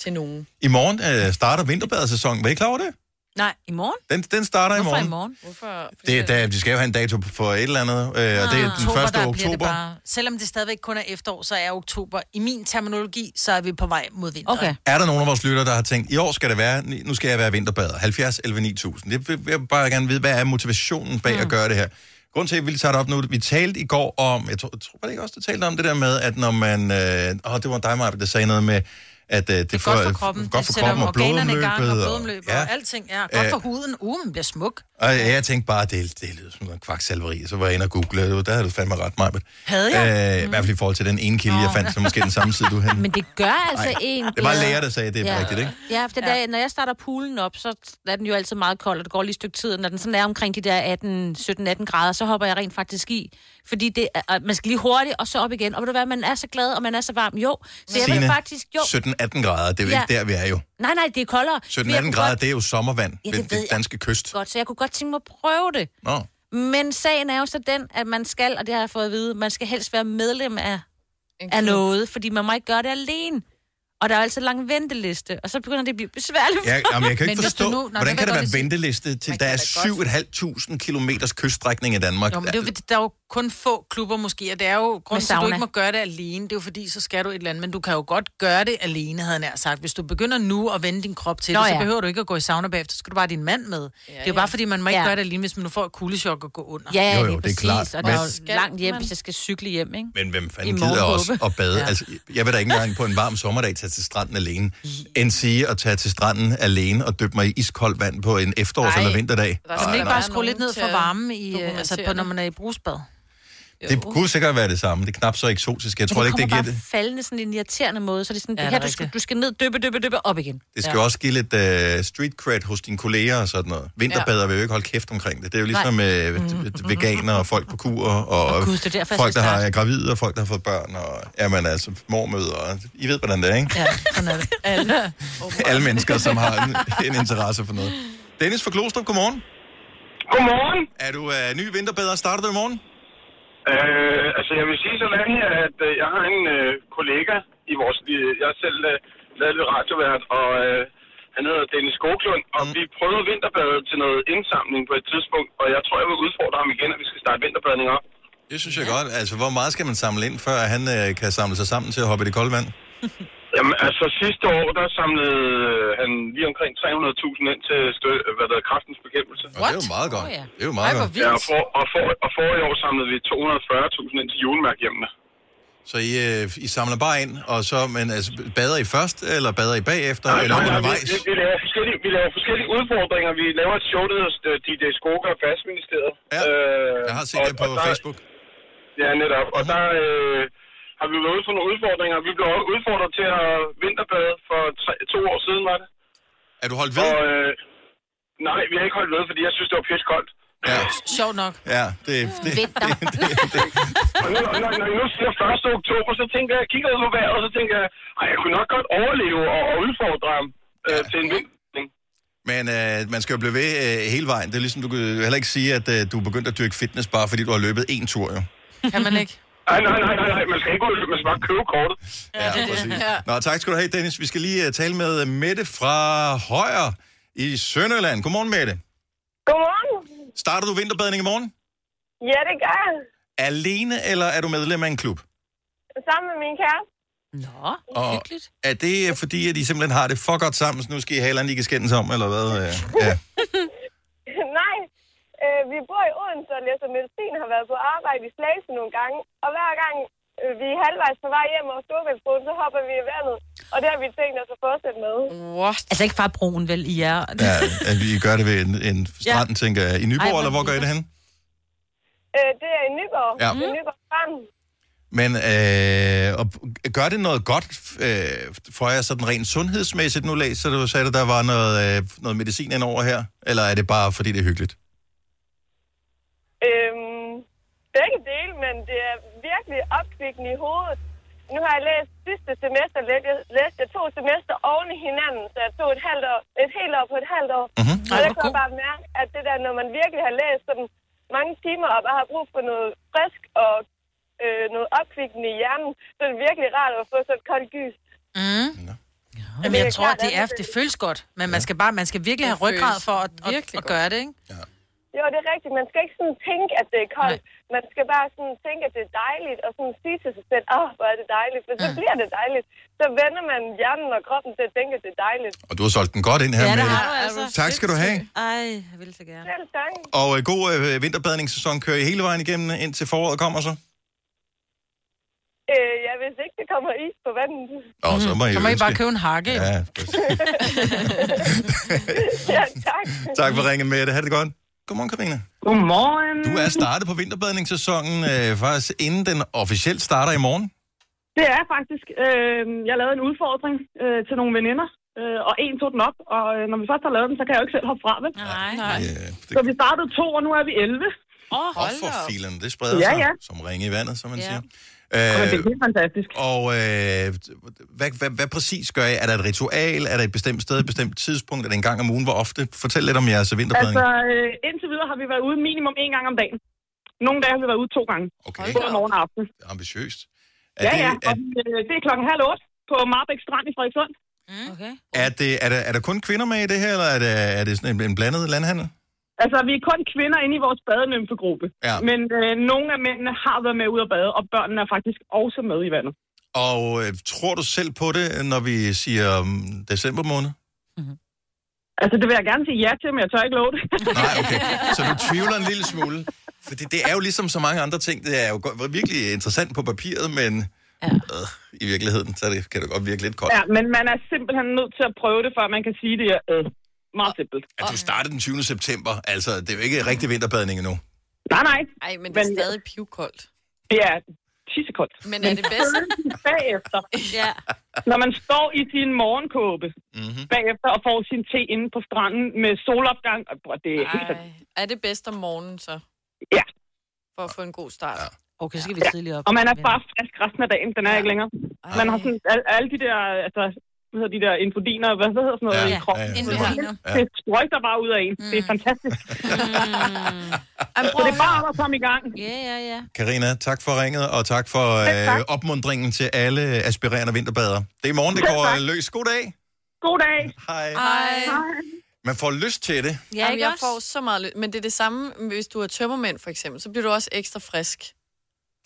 Speaker 3: til nogen.
Speaker 1: I morgen øh, starter vinterbadesæsonen. Var I klar over det?
Speaker 4: Nej, i morgen?
Speaker 1: Den, den starter i
Speaker 4: Hvorfor
Speaker 1: morgen.
Speaker 4: i morgen?
Speaker 3: Hvorfor?
Speaker 1: Det, der, de skal jo have en dato for et eller andet, øh, og det er den 1.
Speaker 2: oktober, der bliver det
Speaker 1: oktober.
Speaker 2: bare... Selvom det stadigvæk kun er efterår, så er oktober. I min terminologi, så er vi på vej mod vinter.
Speaker 4: Okay.
Speaker 1: Er der nogen af vores lyttere, der har tænkt, i år skal det være, nu skal jeg være vinterbader, 70, 11, 9000. Det vil jeg vil bare gerne vide, hvad er motivationen bag mm. at gøre det her? Grunden til, at vi lige tager det op nu, vi talte i går om, jeg tror, jeg tror var det ikke også, der talte om det der med, at når man, øh, åh, det var dig, Maja, der sagde noget med, at øh, det, det er
Speaker 2: Godt for kroppen.
Speaker 1: godt for kroppen og
Speaker 2: organerne i
Speaker 1: blodomløbet.
Speaker 2: gang, og blodomløbet og,
Speaker 1: ja.
Speaker 2: ja.
Speaker 1: Øh,
Speaker 2: og alting. Ja, godt for huden. Uh, man bliver smuk.
Speaker 1: Og jeg tænkte bare, det, det lyder som en kvaksalveri, så var jeg inde og google, og der havde du fandme ret, Maja.
Speaker 2: Havde jeg?
Speaker 1: Øh, I hvert fald i forhold til den ene kilde, jeg
Speaker 4: Nå.
Speaker 1: fandt, så måske den
Speaker 2: <laughs>
Speaker 1: samme side, du havde.
Speaker 4: Men det gør altså
Speaker 1: Nej,
Speaker 4: en
Speaker 1: det var
Speaker 4: glæder.
Speaker 1: læger, der sagde, det er
Speaker 4: ja.
Speaker 1: rigtigt, ikke?
Speaker 4: Ja, for det der, når jeg starter poolen op, så er den jo altid meget kold, og det går lige et stykke tid. Når den sådan er omkring de der 18, 17-18 grader, så hopper jeg rent faktisk i. Fordi det er, og man skal lige hurtigt, og så op igen. Og ved du hvad, man er så glad, og man er så varm. Jo, så jeg vil
Speaker 1: Signe,
Speaker 4: faktisk... Jo.
Speaker 1: 17-18 grader, det er jo
Speaker 4: Ja.
Speaker 1: ikke der, vi er jo.
Speaker 4: Nej, nej, det er koldere. Men jeg
Speaker 1: 17-18
Speaker 4: kunne
Speaker 1: grader,
Speaker 4: godt-
Speaker 1: det er jo sommervand
Speaker 4: Ja,
Speaker 1: ja,
Speaker 4: det
Speaker 1: ved
Speaker 4: ved
Speaker 1: den
Speaker 4: jeg.
Speaker 1: danske kyst.
Speaker 4: Godt, så jeg kunne godt tænke mig at prøve det. <laughs>
Speaker 1: Nå.
Speaker 4: Men sagen er jo så den, at man skal, og det har jeg fået at vide, man skal helst være medlem af, af
Speaker 3: klub.
Speaker 4: noget, fordi man må ikke gøre det alene. Og der er jo altid lang venteliste, og så begynder det at blive besværligt.
Speaker 1: Jeg, jamen, jeg kan
Speaker 4: Men
Speaker 1: ikke
Speaker 4: hvis
Speaker 1: forstå,
Speaker 4: du
Speaker 1: nu,
Speaker 4: Nå,
Speaker 1: hvordan
Speaker 4: det
Speaker 1: kan der
Speaker 4: var
Speaker 1: være
Speaker 4: godt,
Speaker 1: venteliste til, der er 7.500 km kyststrækning i Danmark?
Speaker 2: Nå,
Speaker 1: Altså,
Speaker 2: men det er jo, fordi der er jo kun få klubber måske, og det er jo grunden til, at du
Speaker 4: sauna.
Speaker 2: ikke må gøre det alene. Det er jo fordi, så skal du et eller andet, men du kan jo godt gøre det alene, havde jeg nær sagt. Hvis du begynder nu at vende din krop til
Speaker 4: Nå
Speaker 2: det, så
Speaker 4: ja.
Speaker 2: behøver du ikke at gå i sauna bagefter, så skal du bare have din mand med. det er jo
Speaker 4: ja.
Speaker 2: bare fordi, man må ikke
Speaker 4: Ja.
Speaker 2: gøre det alene, hvis man nu får et kuldeshok og gå under.
Speaker 4: Ja,
Speaker 1: Jo,
Speaker 4: jo,
Speaker 1: jo, det
Speaker 4: jo,
Speaker 1: er
Speaker 4: det er
Speaker 1: klart,
Speaker 4: præcis. Og der er
Speaker 1: men-
Speaker 4: jo langt hjem, hvis jeg skal cykle hjem, ikke?
Speaker 1: Men hvem
Speaker 4: I
Speaker 1: fanden gider også
Speaker 4: morgenhåbe.
Speaker 1: at bade?
Speaker 4: Ja.
Speaker 1: Ja. Altså, jeg vil da ikke engang på en varm sommerdag tage til stranden alene, end sige at tage til stranden alene og dyppe mig i iskoldt vand på en efterårs- eller vinterdag.
Speaker 2: Der skal man
Speaker 1: Ej,
Speaker 2: ikke
Speaker 1: nej.
Speaker 2: bare skrue lidt ned for
Speaker 3: til
Speaker 2: varmen, i, øh,
Speaker 3: dokumentere
Speaker 2: altså på, når man er i brusbad.
Speaker 1: Det kunne sikkert være det samme. Det er knap så eksotisk. Jeg
Speaker 4: Men
Speaker 1: tror
Speaker 4: det
Speaker 1: ikke, det giver
Speaker 4: kommer
Speaker 1: det.
Speaker 4: bare faldende sådan en irriterende måde, så det er sådan,
Speaker 2: Ja,
Speaker 4: ja,
Speaker 2: det
Speaker 4: her,
Speaker 2: er
Speaker 4: du skal, du skal ned, dyppe, dyppe, dyppe, op igen.
Speaker 1: Det skal ja. også give lidt uh, street cred hos dine kolleger og sådan noget. Vinterbader vil jo ikke holde kæft omkring det. Det er jo ligesom uh, veganer og folk på kur og, og
Speaker 4: Gud, det er derfor, jeg
Speaker 1: folk, der
Speaker 4: skal
Speaker 1: har,
Speaker 4: starte.
Speaker 1: er gravide og folk, der har fået børn. Og, jamen altså, mormøder. Og, I ved, hvordan det er, ikke?
Speaker 2: Ja, sådan
Speaker 3: <laughs>
Speaker 2: er det. Alle.
Speaker 1: Alle mennesker, som har en, en interesse for noget. Dennis fra Klostrup, godmorgen.
Speaker 7: Godmorgen.
Speaker 1: Er du uh, ny vinterbader? Starter du i morgen?
Speaker 7: Øh, altså, jeg vil sige sådan her, at øh, jeg har en øh, kollega i vores... Øh, jeg er selv øh, lavet lidt radiovært, og øh, han hedder Dennis Skoglund, og
Speaker 1: Mm.
Speaker 7: vi prøvede vinterbade til noget indsamling på et tidspunkt, og jeg tror, jeg vil udfordre ham igen, at vi skal starte vinterbadning op.
Speaker 1: Det synes jeg godt. Altså, hvor meget skal man samle ind, før han uh, kan samle sig sammen til at hoppe i det kolde vand?
Speaker 7: Jamen, altså sidste år, der samlede øh, han lige omkring 300.000 ind til stø- øh, hvad der er, kraftens bekæmpelse.
Speaker 1: Og det er jo meget godt. Det er jo meget godt.
Speaker 7: Ja, og for, og, for, og for i år samlede vi 240.000 ind til julemærkehjemmene.
Speaker 1: Så I, øh, I samler bare ind, og så, men altså, bader I først, eller bader I bagefter,
Speaker 7: Nej,
Speaker 1: eller
Speaker 7: nej, nej,
Speaker 1: undervejs?
Speaker 7: Vi, vi, vi, laver forskellige, vi laver forskellige udfordringer. Vi laver et show, der hedder øh, DJ Skoga og Fastministeriet. Ja, øh, jeg har set og, det på der, Facebook. Ja, netop. Og der øh, har vi været ude for nogle udfordringer. Vi blev også udfordret til at vinterbade for tre, to år siden, var det.
Speaker 1: Er du holdt ved?
Speaker 7: Og, øh, nej, vi har ikke holdt ved, fordi jeg synes, det var pisse koldt.
Speaker 1: Ja.
Speaker 2: Sjov nok.
Speaker 1: Ja, det, det, det,
Speaker 7: Og nu,
Speaker 2: Mm.
Speaker 7: og når, når jeg nu siger 1. oktober, så tænker jeg, kigger ud på vejret, og så tænker jeg, ej, jeg kunne nok godt overleve og, og udfordre ham øh, til en vinter.
Speaker 1: men øh, man skal jo blive ved øh, hele vejen. Det er ligesom, du kan jo heller ikke sige, at øh, du er begyndt at dyrke fitness, bare fordi du har løbet en tur, jo.
Speaker 2: Kan man ikke?
Speaker 7: Nej, nej, nej, nej, nej. Man skal ikke ud, man skal bare købe kortet.
Speaker 1: Ja, præcis. Nå, tak skal du have, Dennis. Vi skal lige øh, tale med øh, Mette fra Højer i Sønderland. Godmorgen, Mette.
Speaker 8: Godmorgen.
Speaker 1: Starter du vinterbadning i morgen?
Speaker 8: Ja, det gør jeg.
Speaker 1: Alene, eller er du medlem af en klub?
Speaker 8: Sammen med min kæreste.
Speaker 4: Nå,
Speaker 1: Og er det øh, fordi, at I simpelthen har det for godt sammen, så nu skal I have et eller andet, I kan skændes om, eller hvad? Øh, Ja.
Speaker 8: <laughs> Nej, øh, vi bor i Odense og læser medicin, har været på arbejde i Slagelse nogle gange. Og hver gang øh, vi er halvvejs på vej hjem over Storbritannien, så hopper vi i vandet. Og det har vi tænkt os at fortsætte med.
Speaker 4: What? Altså ikke fra broen, vel, I er.
Speaker 1: Ja, at vi gør det ved en, en strand, ja. tænker jeg. I Nyborg,
Speaker 8: Ej,
Speaker 1: Ej,
Speaker 8: hvor
Speaker 1: eller hvor gør I det hen?
Speaker 8: Øh, det er i Nyborg.
Speaker 1: Ja.
Speaker 8: Det er Nyborg Strand.
Speaker 1: Men øh, og gør det noget godt øh, for jer sådan rent sundhedsmæssigt? Nu læser du, sagde du, der var noget, øh, noget medicin indover her. Eller er det bare, fordi det er hyggeligt?
Speaker 8: Øhm, begge dele, men det er virkelig opkvikkende i hovedet. nu har jeg læst sidste semester, læste jeg, læste jeg to semester oven i hinanden, så jeg tog et, halvt år, et helt år på et halvt år. Mm-hmm. Og der kunne jeg bare mærke, at det der, når man virkelig har læst sådan mange timer, og bare har brug for noget frisk og øh, noget opkvikkende i hjernen, så er det virkelig rart at få sådan et koldt gys.
Speaker 2: Mm. Jamen, jeg tror, det er, det føles godt, men man skal, bare, man skal virkelig have
Speaker 8: Det føles
Speaker 2: ryggrad for at, at,
Speaker 8: virkelig
Speaker 2: at
Speaker 8: godt.
Speaker 2: gøre det, ikke?
Speaker 8: Jo, det er rigtigt. Man skal ikke sådan tænke, at det er koldt. Nej. Man skal bare sådan tænke, at det er dejligt, og sådan sige til sig selv, åh, oh, hvor er det dejligt, for så mm. bliver det dejligt. Så vender man hjernen og kroppen til at tænke, at det er dejligt.
Speaker 1: Og du har solgt den godt ind her, Mette.
Speaker 2: altså.
Speaker 1: Tak skal du have.
Speaker 2: Ej, jeg vil så gerne.
Speaker 8: Selv tak.
Speaker 1: Og øh, god øh, vinterbadningssæson kører I hele vejen igennem, indtil foråret kommer så?
Speaker 8: Øh, ja, hvis ikke det kommer is på vandet.
Speaker 1: Nå, så må I
Speaker 2: Mhm. Så må I
Speaker 1: ønske.
Speaker 2: bare købe en hakke.
Speaker 1: Ja,
Speaker 8: ja, tak.
Speaker 1: Tak for ringen, Mette. Ha' det godt. Godmorgen, Karina.
Speaker 9: Godmorgen.
Speaker 1: Du er startet på vinterbadningssæsonen øh, faktisk inden den officielt starter i morgen.
Speaker 9: Det er faktisk. Øh, jeg lavede en udfordring øh, til nogle veninder, øh, og en tog den op. Og øh, når vi først har lavet den, så kan jeg jo ikke selv hoppe fra, vel? Nej, nej. Så vi startede to, og nu er vi 11. Åh,
Speaker 1: Og for filen, det spreder
Speaker 9: Ja,
Speaker 1: sig
Speaker 9: ja.
Speaker 1: som ringe i vandet, som man
Speaker 9: Ja.
Speaker 1: siger.
Speaker 9: Men det
Speaker 1: Øh,
Speaker 9: er helt fantastisk.
Speaker 1: og øh, hvad, hvad, hvad præcis gør I? Er der et ritual? Er der et bestemt sted, et bestemt tidspunkt? Er det en gang om ugen? Hvor ofte? Fortæl lidt om jeres vinterbadning.
Speaker 9: Altså, øh, indtil videre har vi været ude minimum en gang om dagen. Nogle dage har vi været ude to gange.
Speaker 1: Okay.
Speaker 9: Både morgen og aften.
Speaker 1: Ambitiøst. Er,
Speaker 9: Ja,
Speaker 1: det,
Speaker 9: ja.
Speaker 1: Er,
Speaker 9: Og, øh, det er klokken halv otte på Marbæk Strand i Frederikssund. Okay.
Speaker 1: er, det, er, der, er der kun kvinder med i det her, eller er det, er det sådan en, en blandet landhandel?
Speaker 9: Altså, vi er kun kvinder inde i vores badenymfegruppe.
Speaker 1: Ja.
Speaker 9: Men øh, nogle af mændene har været med ud at bade, og børnene er faktisk også med i vandet.
Speaker 1: Og øh, tror du selv på det, når vi siger um, december måned?
Speaker 9: Altså, det vil jeg gerne sige ja til, men jeg tør ikke love det.
Speaker 1: Nej, okay. Så du tvivler en lille smule. Fordi det er jo ligesom så mange andre ting, det er jo godt, virkelig interessant på papiret, men ja. øh, i virkeligheden, så er det, kan det godt virke lidt koldt.
Speaker 9: <laughs> ja,
Speaker 1: Ja.
Speaker 9: men man er simpelthen nødt til at prøve det, før man kan sige det er øh, meget simpelt.
Speaker 1: At du startede den 20. september, altså det er jo ikke rigtig vinterbadning endnu.
Speaker 9: Nej, nej.
Speaker 3: Nej, men det er stadig pivkoldt.
Speaker 9: Det er tissekoldt.
Speaker 3: Men er det bedst?
Speaker 9: følelsen bagefter,
Speaker 3: <laughs> ja.
Speaker 9: når man står i sin morgenkåbe mm-hmm. bagefter og får sin te inde på stranden med solopgang, og bror, det er helt
Speaker 3: Ej. Er det bedst om morgenen så?
Speaker 9: Ja.
Speaker 3: For at få en god start. Ja.
Speaker 2: Okay, så skal vi tidligere op.
Speaker 9: Og man er bare frisk resten af dagen, den er ja. ikke længere. Man har sådan al- alle de der, altså, hvad hedder de der infodiner, hvad, hvad hedder sådan noget
Speaker 3: Ja,
Speaker 9: i kroppen?
Speaker 3: ja, ja.
Speaker 9: Det,
Speaker 3: Infodiner.
Speaker 9: det, det sprøjter bare ud af en. Mm. Det er fantastisk. Mm. Så det er bare om at komme i gang.
Speaker 4: Ja, ja, ja.
Speaker 1: Karina, tak for ringet, og tak for øh, opmundringen til alle aspirerende vinterbadere. Det er i morgen, det
Speaker 9: Selv
Speaker 1: går
Speaker 9: tak.
Speaker 1: øh, løs. God dag.
Speaker 9: God dag.
Speaker 1: Hej.
Speaker 3: Hej.
Speaker 1: Man får lyst til det.
Speaker 3: Ja, Jamen, jeg får så meget lyst. Men det er det samme, hvis du er tømmermænd for eksempel, så bliver du også ekstra frisk.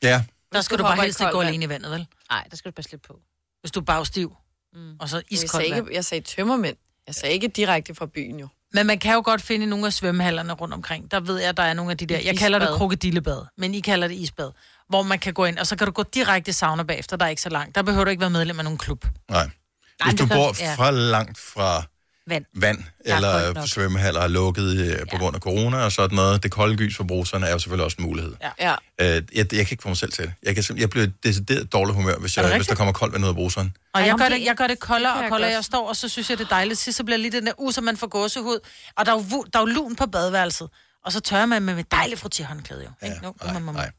Speaker 1: Ja.
Speaker 2: Der skal
Speaker 3: du
Speaker 2: du bare
Speaker 3: hopper i
Speaker 2: helst ikke gå
Speaker 3: koldt vand.
Speaker 2: alene i vandet, vel?
Speaker 4: Nej, der skal du passe lidt på.
Speaker 2: Hvis du er bagstiv, mm. og så
Speaker 3: Jeg sagde,
Speaker 2: iskoldt vand.
Speaker 3: ikke, jeg sagde tømmermænd. Jeg sagde ikke direkte fra byen jo.
Speaker 2: Men man kan jo godt finde i nogle af svømmehallerne rundt omkring. Der ved jeg, at der er nogle af de der... Jeg kalder det
Speaker 3: Isbad.
Speaker 2: krokodillebad, men I kalder det isbad. Hvor man kan gå ind, og så kan du gå direkte i sauna bagefter. Der er ikke så langt. Der behøver du ikke være medlem af nogen klub.
Speaker 1: Nej.
Speaker 2: Nej, det
Speaker 1: Hvis du
Speaker 2: gør-
Speaker 1: bor
Speaker 2: ja.
Speaker 1: fra langt fra
Speaker 2: Vand.
Speaker 1: vand,
Speaker 2: Der er koldt
Speaker 1: eller
Speaker 2: nok.
Speaker 1: svømmehaller er lukket øh, på grund af corona og sådan noget, det kolde gys for bruserne er jo selvfølgelig også en mulighed.
Speaker 2: Ja.
Speaker 3: ja.
Speaker 1: Øh, jeg, jeg kan ikke få mig selv til det. Jeg, kan, simp- jeg bliver decideret dårlig humør, hvis, jeg, hvis der kommer koldt vand ud af bruseren.
Speaker 2: Og
Speaker 4: Ej,
Speaker 2: jeg
Speaker 4: men
Speaker 2: gør,
Speaker 4: det-
Speaker 2: det, jeg gør det koldere
Speaker 4: det kan
Speaker 2: og
Speaker 4: jeg
Speaker 2: koldere,
Speaker 4: godt.
Speaker 2: jeg står, og så synes jeg, det er dejligt. Sidst så bliver jeg lige den der us, og man får gåsehud. Og der er, jo, vu- der er jo lun på badeværelset. Og så tørrer man med mit dejlige frotierhåndklæde jo. Ja, no, nej, nej.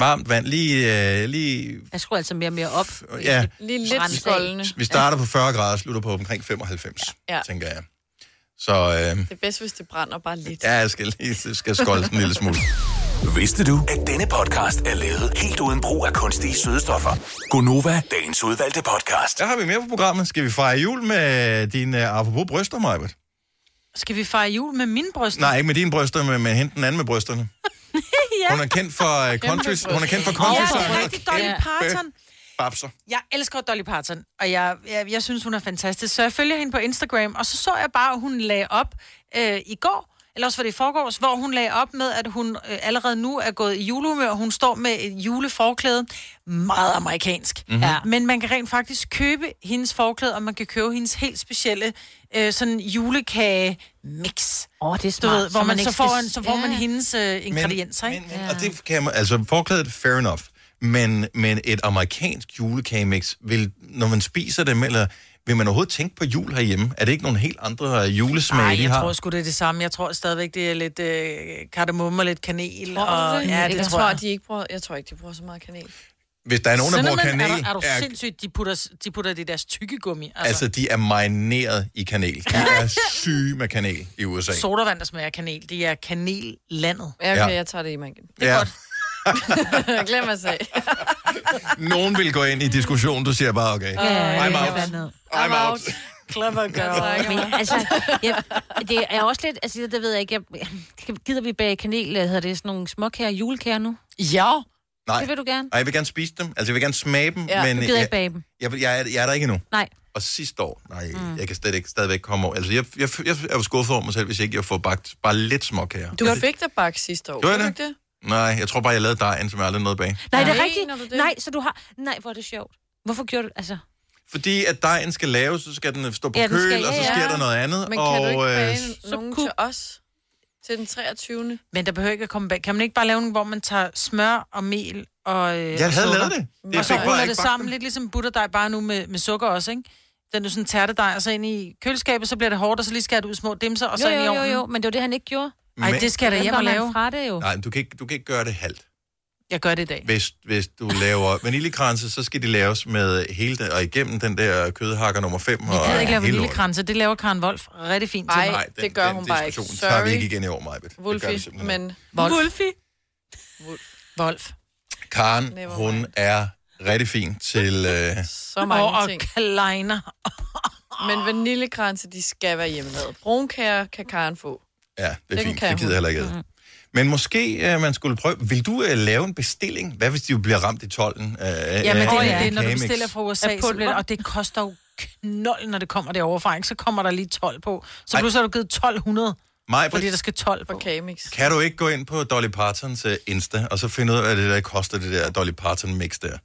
Speaker 1: Varmt vand, lige... Øh, lige
Speaker 4: Jeg skruer altså mere og mere op.
Speaker 1: ja.
Speaker 3: Lige
Speaker 4: Brændt af.
Speaker 3: lidt skoldende.
Speaker 1: Vi starter på 40 grader og slutter på omkring 95, ja.
Speaker 3: Ja.
Speaker 1: tænker jeg. Så øh,
Speaker 3: Det er bedst, hvis det brænder bare lidt.
Speaker 1: ja, jeg skal lige skal skolde sådan en lille smule.
Speaker 6: Vidste du, at denne podcast er lavet helt uden brug af kunstige sødestoffer?
Speaker 1: Gonova,
Speaker 6: Dagens udvalgte podcast.
Speaker 1: Der har vi mere på programmet. Skal vi fejre jul med dine øh, apropos bryster, Majbert?
Speaker 2: Skal vi fejre jul med mine
Speaker 1: <laughs>
Speaker 2: bryster?
Speaker 1: Nej, ikke med dine bryster, men med hende den anden med brysterne.
Speaker 2: ja.
Speaker 1: Hun er kendt for uh, country, hun er kendt for country
Speaker 2: Ja, det er rigtig Dolly Parton.
Speaker 1: Babser.
Speaker 2: Jeg elsker Dolly Parton, og jeg, jeg, jeg synes, hun er fantastisk. Så jeg følger hende på Instagram, og så så jeg bare, at hun lagde op øh, i går, eller også var det i forgårs, hvor hun lagde op med, at hun øh, allerede nu er gået i julehumør. Hun står med et juleforklæde. Meget amerikansk.
Speaker 4: Mhm. Ja.
Speaker 2: Men man kan rent faktisk købe hendes forklæde, og man kan købe hendes helt specielle øh, sådan julekage-mix.
Speaker 4: Åh, det
Speaker 2: Du
Speaker 4: er smart.
Speaker 2: ved, hvor
Speaker 4: så
Speaker 2: man,
Speaker 4: ikke
Speaker 2: så får,
Speaker 4: skal-
Speaker 2: en, så får man
Speaker 4: Ja.
Speaker 2: hendes øh, ingredienser, men, ikke? Men,
Speaker 1: Og det kan man, altså forklædet, fair enough. Men, men et amerikansk julekagemix, vil, når man spiser dem, eller vil man overhovedet tænke på jul herhjemme? Er det ikke nogle helt andre øh, julesmag,
Speaker 2: Nej,
Speaker 1: de
Speaker 2: jeg
Speaker 1: har?
Speaker 2: tror sgu, det er det samme. Jeg tror stadigvæk, det er lidt øh, kardemomme og lidt kanel.
Speaker 3: Tror du
Speaker 2: og,
Speaker 3: det?
Speaker 2: Ja, det
Speaker 3: jeg
Speaker 2: tror jeg.
Speaker 3: de ikke bruger, jeg tror ikke, de bruger så meget kanel.
Speaker 1: Hvis der er nogen, der bruger
Speaker 2: Cinnamon,
Speaker 1: kanel,
Speaker 2: Er, du- er du
Speaker 1: er-
Speaker 2: sindssygt, de putter, de putter det i deres tykkegummi. Altså,
Speaker 1: Altså, de er marineret i kanel. De er <laughs> syge med kanel i USA.
Speaker 2: altså sodavand, der smager af kanel, det er kanellandet.
Speaker 1: Ja, okay, Ja.
Speaker 3: jeg tager det i mængden.
Speaker 2: <laughs>
Speaker 1: Ja.
Speaker 3: jeg glemmer at sige.
Speaker 1: Nogen vil gå ind i diskussion, du siger bare, okay. I'm out. I'm out.
Speaker 2: Clever girl.
Speaker 4: Men, altså, jeg, det er også lidt, altså det ved jeg ikke, jeg, gider vi bage kanel, øh, hedder det sådan nogle småkager, julekager nu?
Speaker 2: Ja.
Speaker 1: Nej.
Speaker 4: Det vil du gerne.
Speaker 1: Ej, jeg vil gerne spise dem. Altså, jeg vil gerne smage dem,
Speaker 4: Ja,
Speaker 1: men...
Speaker 4: du gider
Speaker 1: jeg,
Speaker 4: ikke bage dem.
Speaker 1: Jeg, vil- jeg, er, jeg er der ikke endnu.
Speaker 4: Nej.
Speaker 1: Og sidste år, nej,
Speaker 4: Mm.
Speaker 1: mm. jeg kan slet ikke, stadigvæk komme over. Altså, jeg, jeg, jeg er jo skuffet over mig selv, hvis ikke jeg får bagt bare lidt småkager.
Speaker 3: Du fik der bakke sidste år.
Speaker 1: Gjorde jeg
Speaker 3: gjorde
Speaker 1: det?
Speaker 3: du ikke
Speaker 1: Nej, jeg tror bare, jeg lavede dejen, som jeg aldrig nåede bag.
Speaker 4: Nej, det er
Speaker 3: Nej,
Speaker 4: rigtigt.
Speaker 3: når du det?
Speaker 4: Nej, så du har... Nej, hvor er det sjovt. Hvorfor gjorde du... Altså,
Speaker 1: Fordi at dejen skal laves, så skal den stå på
Speaker 4: Ja,
Speaker 1: ja,
Speaker 4: den
Speaker 1: køl,
Speaker 4: skal-
Speaker 1: skal, ja, og så
Speaker 4: ja,
Speaker 1: sker
Speaker 4: ja.
Speaker 1: der noget andet.
Speaker 3: Men
Speaker 1: og,
Speaker 3: kan du ikke
Speaker 1: øh,
Speaker 3: bage nogen til os? Til den 23.
Speaker 2: Men der behøver ikke at komme bag. Kan man ikke bare lave en, hvor man tager smør og mel og øh,
Speaker 1: Jeg havde
Speaker 2: sukker?
Speaker 1: lavet det. Det
Speaker 2: og så
Speaker 1: fik bare
Speaker 2: ruller
Speaker 1: ikke
Speaker 2: det
Speaker 1: bagt
Speaker 2: sammen, lidt ligesom butterdej, bare nu med, med sukker også, ikke? Den er jo sådan tærtedej, og så ind i køleskabet, så bliver det hårdt, og så lige skærer det ud i små dimser, og så
Speaker 4: jo,
Speaker 2: ind i
Speaker 4: jo, jo,
Speaker 2: ovnen.
Speaker 4: jo, men det var det, han ikke gjorde.
Speaker 1: Nej, Men- det skal jeg da
Speaker 4: Hvordan
Speaker 2: hjem og lave.
Speaker 4: kom han fra det jo.
Speaker 1: Nej, du kan, ikke, du kan ikke gøre det halvt.
Speaker 2: Jeg gør det i dag.
Speaker 1: Hvis, hvis du laver vaniljekranse, så skal de laves med hele den, og igennem den der kødhakker nummer 5.
Speaker 2: Jeg gider ikke lave
Speaker 1: hele lortet.
Speaker 2: vaniljekranse, det laver Karen Wolf rigtig fint
Speaker 3: Ej,
Speaker 2: til mig.
Speaker 3: Nej, det gør hun bare ikke.
Speaker 1: diskussion tager vi
Speaker 3: Sorry.
Speaker 1: ikke igen i år, Majbet.
Speaker 3: Wolfie, men...
Speaker 2: Wolf.
Speaker 3: Wolfie.
Speaker 2: Wolf.
Speaker 1: Karen,
Speaker 2: Never
Speaker 1: hun er rigtig fin til... Øh,
Speaker 3: Så mange
Speaker 2: Og- og
Speaker 3: ting.
Speaker 2: kleiner.
Speaker 3: Men vaniljekranse, de skal være hjemmelavet. Brunkager kan Karen få.
Speaker 1: ja, det er
Speaker 3: Den
Speaker 1: fint.
Speaker 3: kan
Speaker 1: Det gider
Speaker 3: hun.
Speaker 1: jeg heller ikke ad. Men måske øh, man skulle prøve... Vil du øh, lave en bestilling? Hvad hvis de jo bliver ramt i tolden? Øh,
Speaker 2: Ja, men det
Speaker 1: øh,
Speaker 2: er
Speaker 1: af
Speaker 2: det, når du
Speaker 1: Kamix?
Speaker 2: bestiller fra USA, så
Speaker 4: Af
Speaker 2: bliver det,
Speaker 4: pulver.
Speaker 2: og det koster jo knold, når det kommer derovre fra, ikke? Så kommer der lige 12 på. Så
Speaker 1: Ej.
Speaker 2: pludselig har du givet 1200,
Speaker 1: Maj-Brit.
Speaker 2: fordi der skal 12 på.
Speaker 3: Kamix.
Speaker 1: Kan du ikke gå ind på Dolly Partons øh, Insta, og så finde ud af, hvad det der koster, det der Dolly Parton mix der?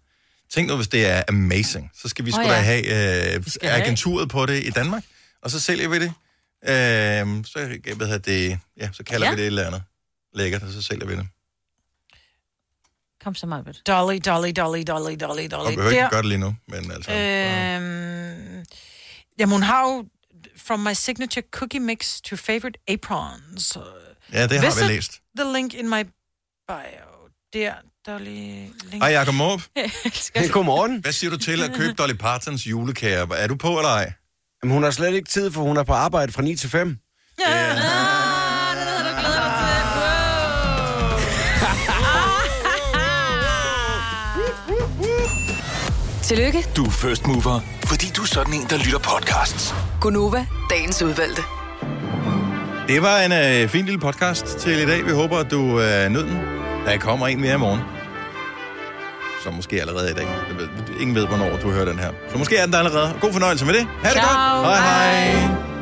Speaker 1: Tænk nu, hvis det er amazing. Så skal vi
Speaker 6: Åh,
Speaker 1: oh, sgu
Speaker 6: ja.
Speaker 1: da have øh,
Speaker 6: skal have.
Speaker 1: agenturet på det i Danmark, og så sælger vi det. Øh, så, jeg ved, det, ja, så kalder
Speaker 4: Ja.
Speaker 1: ja. vi det et eller andet lækkert, og så sælger vi det.
Speaker 4: Kom så, Marbet.
Speaker 2: Dolly, dolly, dolly, dolly, dolly,
Speaker 1: Og vi
Speaker 2: dolly.
Speaker 1: behøver ikke
Speaker 2: Der. Øh,
Speaker 1: gøre det lige nu, men altså...
Speaker 2: Øhm, jamen, hun har jo From my signature cookie mix to favorite aprons. øh,
Speaker 1: Ja, det har
Speaker 2: Visit
Speaker 1: vi læst.
Speaker 2: the link in my bio. Der, Dolly. Link.
Speaker 1: Hej, Jacob
Speaker 2: <laughs>
Speaker 1: Måb.
Speaker 2: Elsker det.
Speaker 10: godmorgen.
Speaker 1: Hvad siger du til at købe Dolly Partons julekager? Er du på eller ej?
Speaker 10: Jamen, hun har slet ikke tid, for hun er på arbejde fra 9 til 5.
Speaker 5: Tillykke,
Speaker 6: Du er first mover, fordi du er sådan en, der lytter podcasts.
Speaker 5: Gunova, dagens udvalgte.
Speaker 1: Det var en øh, fin lille podcast til i dag. Vi håber, at du øh, nød den. Der kommer en mere i morgen. Så måske allerede i dag. Jeg ved, ingen ved, hvornår du hører den her. Så måske er den der allerede. God fornøjelse med det. Ha' det godt. Hej hej.